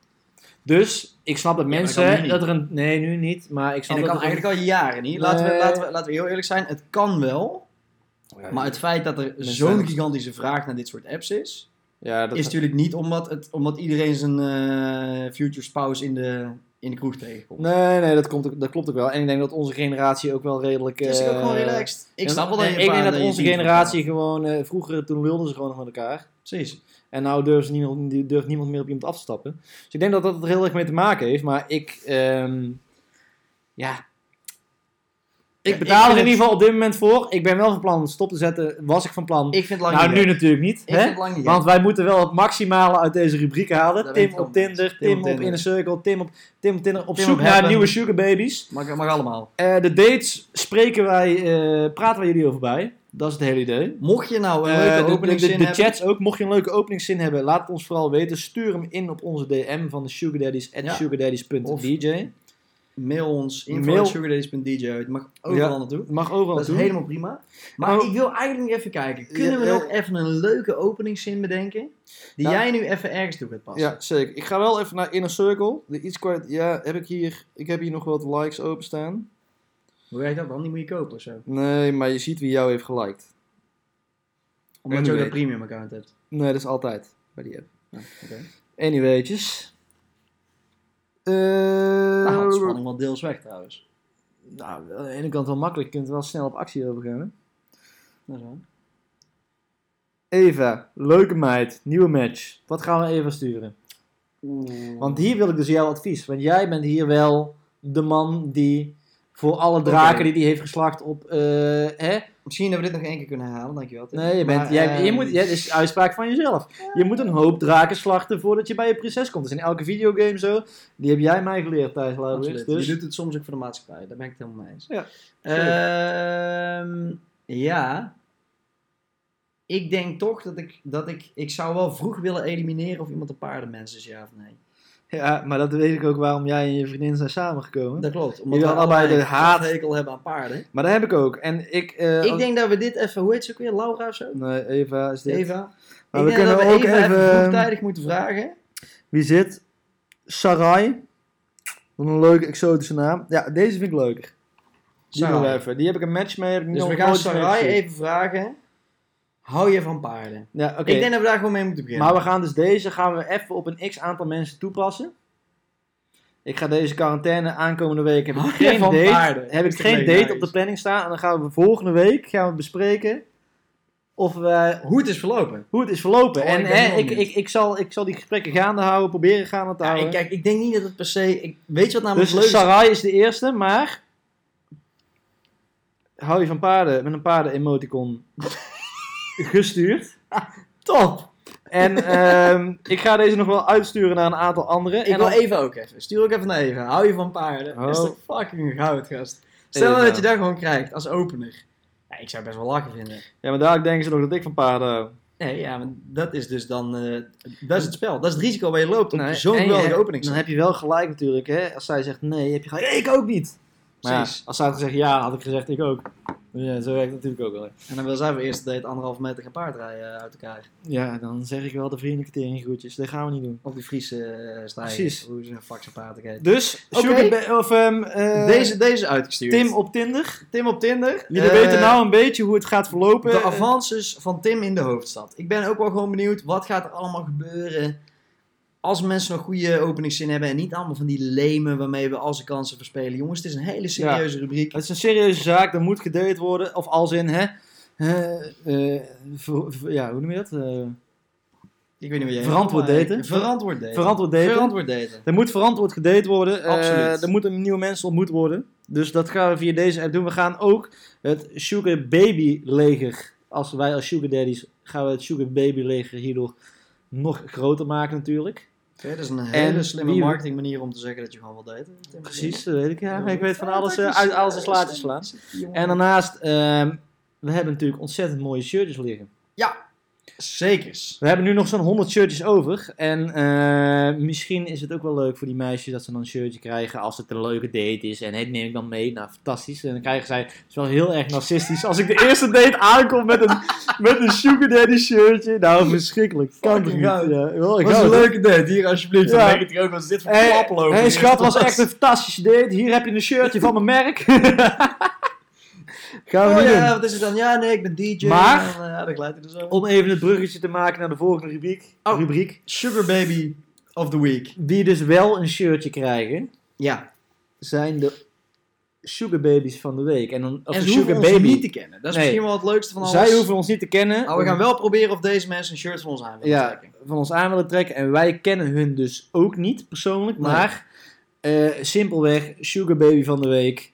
Dus ik snap dat
maar dat
mensen
kan nu niet.
dat er een nee nu niet, maar ik
En
snap
dat
dat
kan
er een-
eigenlijk al jaren niet. Laten, we,
Nee.
laten, we, laten we heel eerlijk zijn, het kan wel.
Ja,
Maar het feit dat er
Mensen
zo'n
zijn-
gigantische vraag naar dit soort apps is,
ja, dat
is natuurlijk niet omdat, het, omdat iedereen zijn eh, future spouse in de, in de kroeg tegenkomt.
nee, nee, dat, komt, ook- dat klopt ook wel. En ik denk dat onze generatie ook wel redelijk.
Het is ook gewoon
eh,
relaxed. Ik
en-
snap wel dat je
en
een
Ik
paar-
denk dat
je
onze
tien
generatie gewoon eh, vroeger toen wilden ze gewoon nog met elkaar.
vertrouwt. Precies.
En nou durft niemand, durft niemand meer op iemand af te stappen. Dus ik denk dat dat er heel erg mee te maken heeft. Maar ik, ehm, ja. Ik
Ja,
betaal er
ik
in
vind
ieder geval op dit moment voor. Ik ben wel van plan het stop te zetten. Was ik van plan.
Ik vind het lang
nou,
niet
nu
gek.
natuurlijk niet.
Ik vind
Hè?
het lang niet
Want wij moeten wel het maximale uit deze rubriek halen.
Daar ben ik
Tim
het
op
wel mee eens.
Tinder,
Tim
Tim,
op
op
Tinder.
Inner Circle, Tim op, Tim op Tinder. Op
Tim
zoek
op
naar
Heaven.
nieuwe sugar babies.
gek. Mag, mag allemaal.
Eh, de dates spreken wij, eh, praten wij jullie over bij. Dat is het hele idee.
Mocht je nou een
Eh,
leuke
de, de, de,
openingszin
de
hebben...
chats ook. Mocht je een leuke openingszin hebben, laat het ons vooral weten. Stuur hem in op onze DM van de sugardaddies at
Ja.
sugardaddies.dj.
Mail ons.
Mail.
info.sugardays.dj. Het mag overal
Ja.
naartoe.
Het mag overal
Dat is
toe.
helemaal prima. Maar
Oh.
ik wil eigenlijk nog even kijken. Kunnen
Ja,
we
ja.
nog even een leuke openingszin bedenken? Die
Ja.
jij nu even ergens toe gaat passen.
Nou. Ja, zeker. Ik ga wel even naar Inner Circle. De iets kwijt. Ja, heb ik hier. Ik heb hier nog wat likes openstaan.
Hoe werkt dat dan? Die moet je kopen of zo.
Nee, maar je ziet wie jou heeft geliked.
Omdat je ook
Anyway.
een premium account hebt.
Nee, dat is altijd bij die app.
Oké.
Eh, Anywaytjes. Eh,
Nou, dat is spanning wel deels weg trouwens.
nou, aan de ene kant wel makkelijk. Je kunt wel snel op actie overgaan. hè?
Dat is wel.
Eva, leuke meid, nieuwe match. Wat gaan we Eva sturen?
Oeh.
Want hier wil ik dus jouw advies. Want jij bent hier wel de man die voor alle draken
Oké.
die die hij heeft geslacht op... eh, hè?
Misschien dat we dit nog één keer kunnen halen. Dankjewel. Tim.
Nee, je bent,
Maar,
jij,
ehm,
je moet, jij, dit is uitspraak van jezelf. Je moet een hoop draken slachten voordat je bij je prinses komt. Dat is in elke videogame zo. Die heb jij mij geleerd, Thijs Lauwers.
absoluut.
Dus
Je doet het soms ook voor de maatschappij. Daar ben ik het helemaal mee eens.
Ja,
Ehm, ja. Ik denk toch dat ik, dat ik... Ik zou wel vroeg willen elimineren of iemand een paardenmens is, ja of nee.
ja, maar dat weet ik ook waarom jij en je vriendin zijn samengekomen.
Dat klopt. Omdat
Jullie
we
allebei
allebei
de
een
haat-
hekel hebben aan paarden.
Maar dat heb ik ook. En ik... eh,
Ik
als-
denk dat we dit even... Hoe heet ze ook weer? Laura of zo?
Nee, Eva is dit.
Eva?
Maar
ik
we
denk dat we
kunnen ook
Eva even,
even- ehm,
vroegtijdig moeten vragen.
Wie zit? Sarai. Wat een leuke exotische naam. Ja, deze vind ik leuker. Die doen we
Sarai.
even. Die heb ik een match mee. Heb ik
Dus
nog
we gaan
nooit
Sarai
gezien.
even vragen. Hou je van paarden?
Ja, oké.
Ik denk dat we daar gewoon mee moeten beginnen.
Maar we gaan dus deze gaan we even op een x aantal mensen toepassen. Ik ga deze quarantaine aankomende week heb ik
Hou Oh, je
geen
van
date.
paarden?
Heb ik
Is
geen
leuk,
date
Marius.
op de planning staan en dan gaan we volgende week gaan we bespreken of wij
Hoe het is verlopen.
hoe het is verlopen.
Oh,
en
ik
ik,
ben heel
ik,
benieuwd.
ik, ik, zal, ik zal die gesprekken gaande houden, proberen gaande te
Ja,
houden.
ik, kijk, ik denk niet dat het per se... Ik, weet je wat namelijk leuk
Dus
is?
Sarai is de eerste, maar. Hou je van paarden met een paarden-emoticon gestuurd.
Top!
En ehm, ik ga deze nog wel uitsturen naar een aantal anderen.
Ik
en
wil
dan-
even ook even. Stuur ook even naar Eva. Hou je van paarden?
Oh.
Is toch fucking goud, gast. Stel nou
Eva.
dat je dat gewoon krijgt als opener. Ja, ik zou best wel lachen vinden.
Ja, maar dadelijk denken ze nog dat ik van paarden eh, hou.
Nee, ja, maar dat is dus dan... eh, dat is het spel. Dat is het risico waar je loopt op
Nee,
zo'n
en je
geweldige
hebt-
opening.
Dan heb je wel gelijk natuurlijk, hè. Als zij zegt nee, heb je gelijk. Ik ook niet! Maar ja,
Precies.
als zij had gezegd ja, had ik gezegd ik ook. Ja, zo werkt het natuurlijk ook wel. hè.
En dan wil zij voor eerst date anderhalve meter gaan paardrijden eh, uit elkaar.
Ja, dan zeg ik wel de vriendelijke teringgroetjes. Dat gaan we niet doen.
Op die Friese eh stijgen.
Precies.
Hoe ze een fax paard kijken.
Dus,
Oké.
sugar ba- of, ehm, eh,
deze, deze is uitgestuurd.
Tim op Tinder.
Tim op Tinder.
Jullie
Eh,
weten nou een beetje hoe het gaat verlopen.
De avances van Tim in de hoofdstad. Ik ben ook wel gewoon benieuwd wat gaat er allemaal gebeuren. Als mensen nog goede openingszin hebben en niet allemaal van die lemen waarmee we al zijn kansen verspelen. Jongens, het is een hele serieuze rubriek.
Het is een serieuze zaak, er moet gedate worden. Of als in, hè? eh, eh, ver- ver- ja, hoe noem je dat? Eh,
Ik weet niet wat jij
Verantwoord
maar-
daten?
Verantwoord daten.
verantwoord daten.
Verantwoord daten.
er moet verantwoord gedate worden. Eh,
Absoluut.
er moeten nieuwe mensen ontmoet worden. Dus dat gaan we via deze app doen. We gaan ook het Sugar Baby leger. Als wij als Sugar Daddies gaan we het Sugar Baby leger hierdoor nog groter maken natuurlijk.
Oké, dat is een hele
En
slimme
wie-
marketingmanier om te zeggen dat je gewoon wil daten. Tim.
Precies, dat weet ik. Ja,
Ja.
ik weet van
Ja,
alles,
dat
eh,
is,
uit
eh,
alles een slaatje
is-
slaan.
jongen.
En daarnaast, ehm, we hebben natuurlijk ontzettend mooie shirtjes liggen.
Zekers.
We hebben nu nog zo'n 100 shirtjes over. En eh, misschien is het ook wel leuk voor die meisjes dat ze dan een shirtje krijgen als het een leuke date is. En hey, die neem ik dan mee. Nou, fantastisch. En dan krijgen zij, het is wel heel erg narcistisch, als ik de eerste date aankom met een, met een sugar daddy shirtje. Nou, verschrikkelijk. Kan toch
Fucking
niet?
goud.
Ja, wel, ik
was
hou het.
een leuke date, hier alsjeblieft.
Ja.
Dan denk ik toch ook, wat is dit voor
Hey,
klaplopen?
hey,
hier?
schat, was echt een fantastische date. Hier heb je een shirtje van mijn merk. Gaan we
Oh
niet doen.
ja, wat is het dan? Ja, nee, ik ben DJ.
Maar-
En dan, eh, ja, dat glijdt hij er zo.
Om even het bruggetje te maken naar de volgende rubriek.
Oh.
rubriek
Sugar Baby of the Week.
die dus wel een shirtje krijgen,
Ja.
zijn de sugarbabies van de week. En, dan, of
en
de
ze
sugar
hoeven ons
baby.
niet te kennen. Dat is
Nee.
misschien wel het leukste van alles.
Zij hoeven ons niet te kennen.
Maar we gaan wel proberen of deze mensen een shirt van ons aan willen
ja,
trekken.
van ons aan willen trekken. En wij kennen hun dus ook niet persoonlijk.
Nee.
Maar eh, simpelweg, sugarbaby van de week.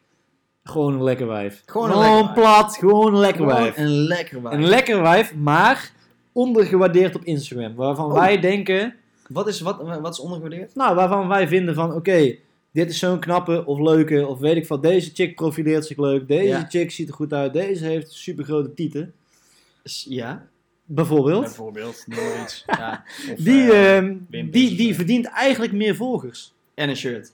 Gewoon een lekker wijf.
Gewoon een lekker wijf.
plat, gewoon een lekker
Gewoon
wijf.
Een lekker wijf.
Een lekker wijf, maar ondergewaardeerd op Instagram. Waarvan
Oh.
wij denken,
Wat is, wat, wat is ondergewaardeerd?
nou, waarvan wij vinden van, oké, Dit is zo'n knappe of leuke of weet ik wat. Deze chick profileert zich leuk. Deze
Ja.
chick ziet er goed uit. Deze heeft super grote tieten.
S- Ja,
Bijvoorbeeld.
bijvoorbeeld. noem maar iets. Ja. Of,
Die,
eh,
ehm,
Wim
die,
Bussen.
die verdient eigenlijk meer volgers.
en een shirt.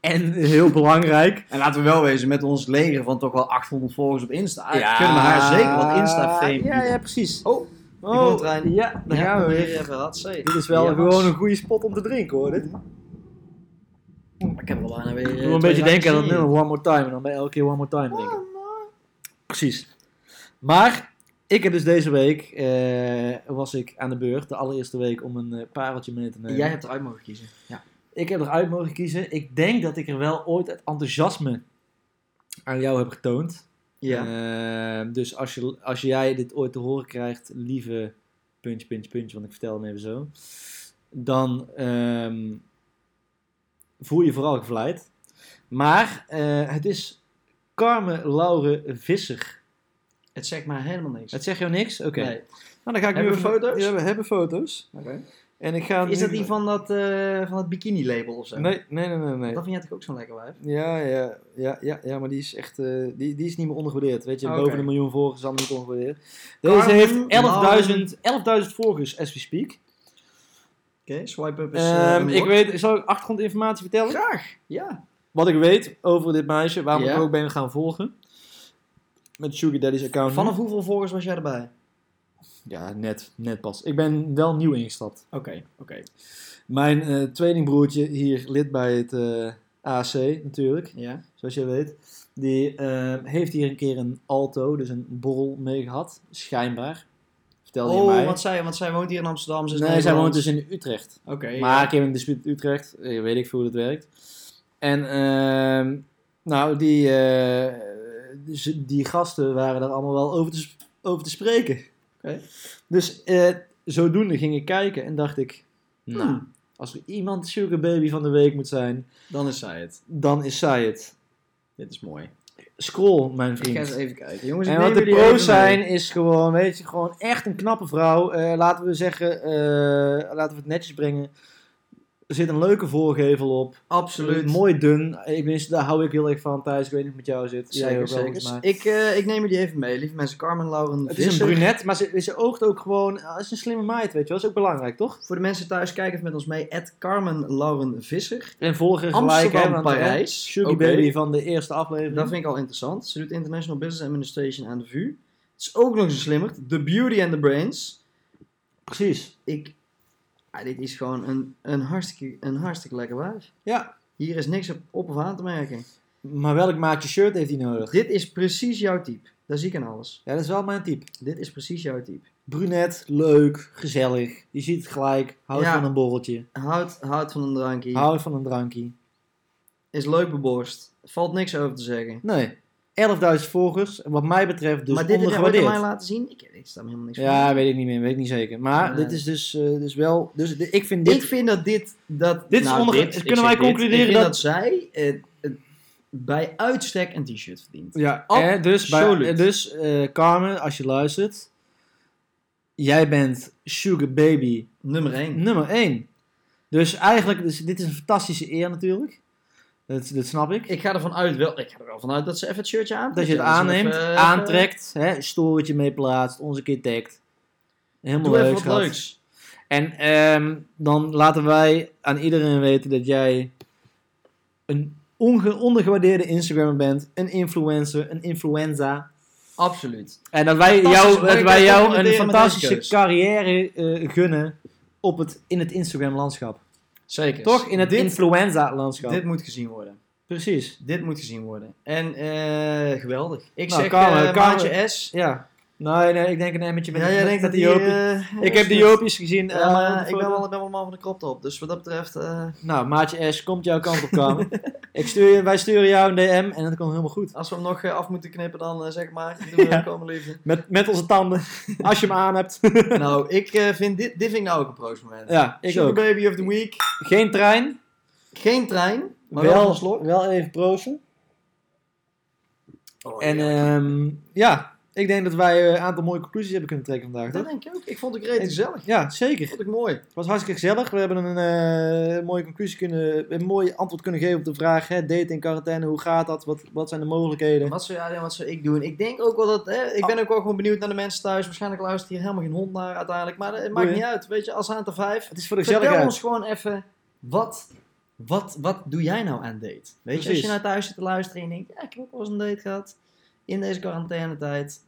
En heel belangrijk.
En laten we wel wezen, met ons leger van toch wel 800 volgers op Insta.
Ja.
Kunnen we haar zeker wat Insta-fame
Ja, ja, precies.
Oh,
bootrein.
Ja, daar gaan we weer.
Even hardzee.
Dit is wel
Ja.
gewoon een goede spot om te drinken hoor. Dit.
Ik heb er al bijna weer... eh,
Ik doe een
twee
beetje denken aan dat
drankjes
nummer
in.
One More Time. En dan bij elke keer One More Time denken. Precies. Maar ik heb dus deze week, eh, was ik aan de beurt, de allereerste week, om een eh, pareltje mee te nemen.
Jij hebt eruit mogen kiezen. Ja.
Ik heb eruit mogen kiezen. Ik denk dat ik er wel ooit het enthousiasme aan jou heb getoond. Eh, dus als, je, als jij dit ooit te horen krijgt, lieve puntje, puntje, puntje, want ik vertel hem even zo. Dan ehm, voel je vooral gevleid. Maar eh, het is Carmen Laure Visser.
Het zegt maar helemaal niks.
Het zegt jou niks? Oké.
Nee.
Nou, dan ga ik
Hebben
nu
we
even-
foto's?
Ja, we hebben foto's. En ik ga
Is
nu-
dat die van dat, eh, van dat bikini-label of zo?
Nee, nee, nee, nee. nee.
Dat vind jij toch ook zo'n lekker wijf?
Ja, ja, ja, ja, ja, maar die is echt, eh, die, die is niet meer ondergewaardeerd. Weet je,
Oké.
boven de miljoen volgers is allemaal niet ondergewaardeerd. Deze
Carmen
heeft 11.000 11.000 volgers, as we speak.
Oké, swipe up
Ehm, ik weet, zal ik achtergrondinformatie vertellen?
eh, Graag, ja.
Wat ik weet over dit meisje, waarom
Ja.
ik ook ben gaan volgen. Met Sugar Daddy's account.
Vanaf hoeveel volgers was jij erbij?
Ja, net, net pas. Ik ben wel nieuw ingestapt.
Oké, oké.
Mijn eh, tweelingbroertje, hier lid bij het eh, AC natuurlijk.
Ja.
zoals jij weet. Die eh, heeft hier een keer een alto, dus een borrel mee gehad, schijnbaar. Vertelde hij
Oh,
mij.
want zij, want zij woont hier in Amsterdam. Ze is
nee, zij woont
Nederlands.
dus in Utrecht.
Oké.
Maar ik heb een dispuut in Utrecht, eh, weet ik veel hoe dat werkt. En ehm, nou, die, eh, dus die gasten waren daar allemaal wel over te, sp- over te spreken.
Oké.
Dus eh, zodoende ging ik kijken en dacht ik, nou,
Hmm,
als er iemand Sugar Baby van de week moet zijn,
dan is zij het.
dan is zij het.
Dit is mooi.
Scroll, mijn
Ik
vriend.
ga eens even kijken. Jongens, ik
En wat
neem
de
jullie even
pro's zijn
mee.
is gewoon, weet je, gewoon echt een knappe vrouw. Eh, laten we zeggen, eh, laten we het netjes brengen. Er zit een leuke voorgevel op.
Absoluut.
Mooi dun. Ik wist, daar hou ik heel erg van, Thijs. Ik weet niet of het met jou zit. Jij ook
Zeker,
wel,
zeker.
volgens mij.
Ik, eh, ik neem jullie even mee, lieve mensen. Carmen Lauren
Het is
Visser.
een brunet, maar ze, ze oogt ook gewoon... eh, Ze is een slimme meid, weet je wel. Dat is ook belangrijk, toch?
Voor de mensen thuis, kijk even met ons mee. At Carmen Lauren Visser.
En volgen gelijk,
Amsterdam,
hè. want, eh,
Parijs.
Sugar
Oké.
Baby van de eerste aflevering.
Dat vind ik al interessant. Ze doet International Business Administration aan de VU. Het is ook nog eens een slimmerd. The Beauty and the Brains.
Precies.
Ik... Ah, dit is gewoon een, een, hartstikke, een hartstikke lekker wijf.
Ja.
Hier is niks op, op of aan te merken.
Maar welk maatje shirt heeft hij nodig?
Dit is precies jouw type. Daar zie ik aan alles.
Ja, dat is wel mijn type.
Dit is precies jouw type.
Brunet, leuk, gezellig. Je ziet het gelijk. Houdt
Ja.
van een borreltje.
Houdt, houdt van een drankje.
Hou van een drankje.
Is leuk beborst. Valt niks over te zeggen.
Nee. 11.000 volgers. En Wat mij betreft dus
maar dit is aan mij
ondergewaardeerd.
laten zien. Ik, ik sta me helemaal niks van.
Ja, weet ik niet meer. Weet ik niet zeker. Maar
Nee.
dit is dus, eh, dus wel... Dus de- ik vind dit...
Ik vind dat dit... Dat,
Dit is onder-
ik
kunnen
zeg
wij
dit.
concluderen
Ik vind dat...
dat-
zij eh, eh, bij uitstek een t-shirt verdient.
ja, hè, dus, bij,
absoluut.
eh, dus eh, Carmen, als je luistert... Jij bent Sugar Baby
Nummer 1.
nummer 1. Dus eigenlijk... Dus dit is een fantastische eer natuurlijk. Dat, dat snap ik.
Ik ga ervan uit, wel, ik ga er wel vanuit dat ze even het shirtje aantrekt.
dat je het
Ja, ze
aanneemt,
even- eh,
aantrekt, hè, storytje mee plaatst, onze keer tagt. Helemaal
Doe
leuk,
even wat
schat.
leuks.
En ehm, dan laten wij aan iedereen weten dat jij een onge- ondergewaardeerde Instagrammer bent, een influencer, een influenza.
Absoluut.
En dat wij
Fantastisch,
jou,
maar
dat
ik
wij
kan
jou
concluderen
een
met
fantastische
deze keus.
carrière eh, gunnen op het, in het Instagram-landschap.
Zeker.
Toch? In het
dit,
influenza-landschap.
dit moet gezien worden.
Precies.
Dit moet gezien worden. En eh, geweldig. Ik
Nou,
zeg
Karel,
eh,
Karel-
maatje S.
Ja. Nee, nee, ik denk een emmertje met,
Ja, jij
met-
denkt
met
dat
die
die...
Jopie.
eh,
Ik heb de Jopies gezien.
Ja,
eh,
maar
op de
ik ben
foto.
wel, ik ben wel een man van de krop top. Dus wat dat betreft... eh,
Nou, maatje S, komt jouw kant op komen. ik stuur je, wij sturen jou een DM en dat komt helemaal goed.
Als we hem nog eh, af moeten knippen, dan eh, zeg maar. Doe
Ja.
ja. komen liefde.
Met, met onze tanden, als je hem aan hebt.
nou, ik eh, vind dit, dit vind ik nou ook een proost moment.
ja, ik
Sugar
ook.
Baby of the Week.
Geen trein,
Geen trein, maar wel, een slok.
Oh, eh, wel, wel even proosten. En ehm, ja, ik Ik denk dat wij eh, een aantal mooie conclusies hebben kunnen trekken vandaag.
Dat
Toch?
denk ik ook. Ik vond het reet
Ik-
gezellig.
Ja, zeker.
Vond ik mooi.
Het was hartstikke gezellig. We hebben een eh, mooie conclusie kunnen, een mooi antwoord kunnen geven op de vraag: hè, daten in quarantaine, hoe gaat dat? Wat, wat zijn de mogelijkheden?
Wat zou jij doen, wat zou ik doen? Ik denk ook wel dat... Hè, ik ben
Ah.
ook wel gewoon benieuwd naar de mensen thuis. Waarschijnlijk luistert hier helemaal geen hond naar uiteindelijk. Maar eh, het maakt
Boeien.
niet uit. Weet je, als aan de vijf.
Het is voor de
Vertel
gezelligheid.
ons gewoon even... Wat, wat, wat doe jij nou aan date? Weet je, als
Precies.
je naar thuis zit te luisteren en je denkt... Ja, ik heb ook wel eens een date gehad. In deze quarantainetijd.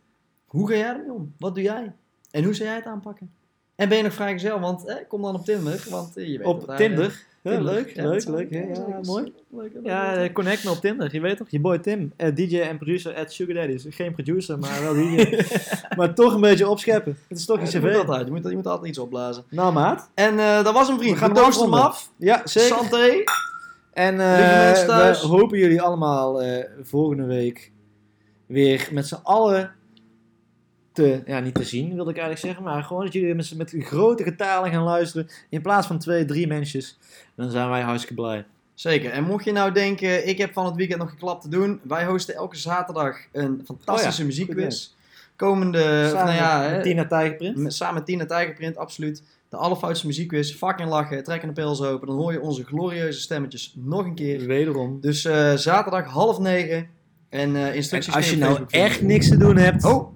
Hoe ga jij ermee om? Wat doe jij? En hoe zou jij het aanpakken? En ben je nog vrijgezel? Want eh, kom dan op Tinder. Want eh, je weet dat
Op
daar,
Tinder.
eh,
Ja,
Tinder-
leuk,
ja,
leuk,
dat zou-
leuk. Ja,
dat
ja,
is-
mooi.
leuk, dat
Ja,
leuk.
eh, connect me op Tinder. Je weet toch? Je boy Tim, eh, DJ en producer at Sugar Daddy. Dus Geen producer, maar wel DJ. maar toch een beetje opscheppen. Het is toch
Ja,
een
je, moet
cv.
dat uit. Je, moet, je moet altijd iets opblazen.
Nou maat.
En eh, dat was een
We
vriend. We
gaan
gaan dansen hem
afronden.
af.
Ja, zeker.
Santé.
En eh,
Lieve mensen
we
thuis.
hopen jullie allemaal eh, volgende week weer met z'n allen te, ja niet te zien wilde ik eigenlijk zeggen, maar gewoon dat jullie met, z'n- met grote getalen gaan luisteren in plaats van twee, drie mensjes. Dan zijn wij hartstikke blij.
Zeker. En mocht je nou denken, ik heb van het weekend nog een klap te doen. Wij hosten elke zaterdag een fantastische muziekquiz. Komende,
Samen
nou ja,
met
hè,
Tina Tijgerprint.
met- samen met Tina Tijgerprint, absoluut. De allerfoutste muziekquiz. Fucking lachen, trekken de pils open. Dan hoor je onze glorieuze stemmetjes nog een keer.
Wederom.
Dus eh, zaterdag half negen. En eh instructies
En als je
kun op
nou
Facebook
echt
vinden.
niks te doen hebt,
Oh!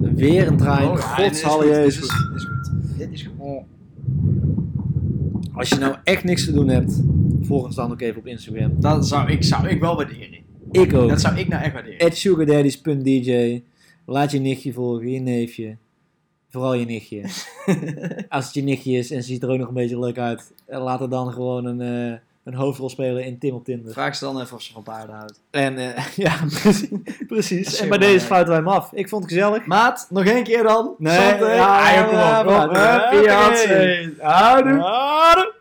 weer een trein.
oh ja, dit is goed,
Godshalle
dit is
Jezus.
goed, Dit is goed. Dit is goed.
Als je nou echt niks te doen hebt, volg ons dan ook even op Instagram.
Dat zou ik, zou ik wel waarderen.
Ik ook.
Dat zou ik nou echt waarderen.
At sugardaddies.dj. Laat je nichtje volgen, je neefje. Vooral je nichtje. Als het je nichtje is en ze ziet er ook nog een beetje leuk uit, eh, laat er dan gewoon een, eh, een hoofdrol spelen in Tim op Tinder.
Vraag ze dan even of ze van paarden houdt.
En eh, ja, precies. precies.
is
En bij deze
heel belangrijk.
sluiten wij hem af. Ik vond het gezellig.
Maat, nog
Né?
één keer dan. Ah,
Nee, ja, ja, kom op. Kom op.
Huppie,
Huppie,
Hansen.
Houdoe. Houdoe.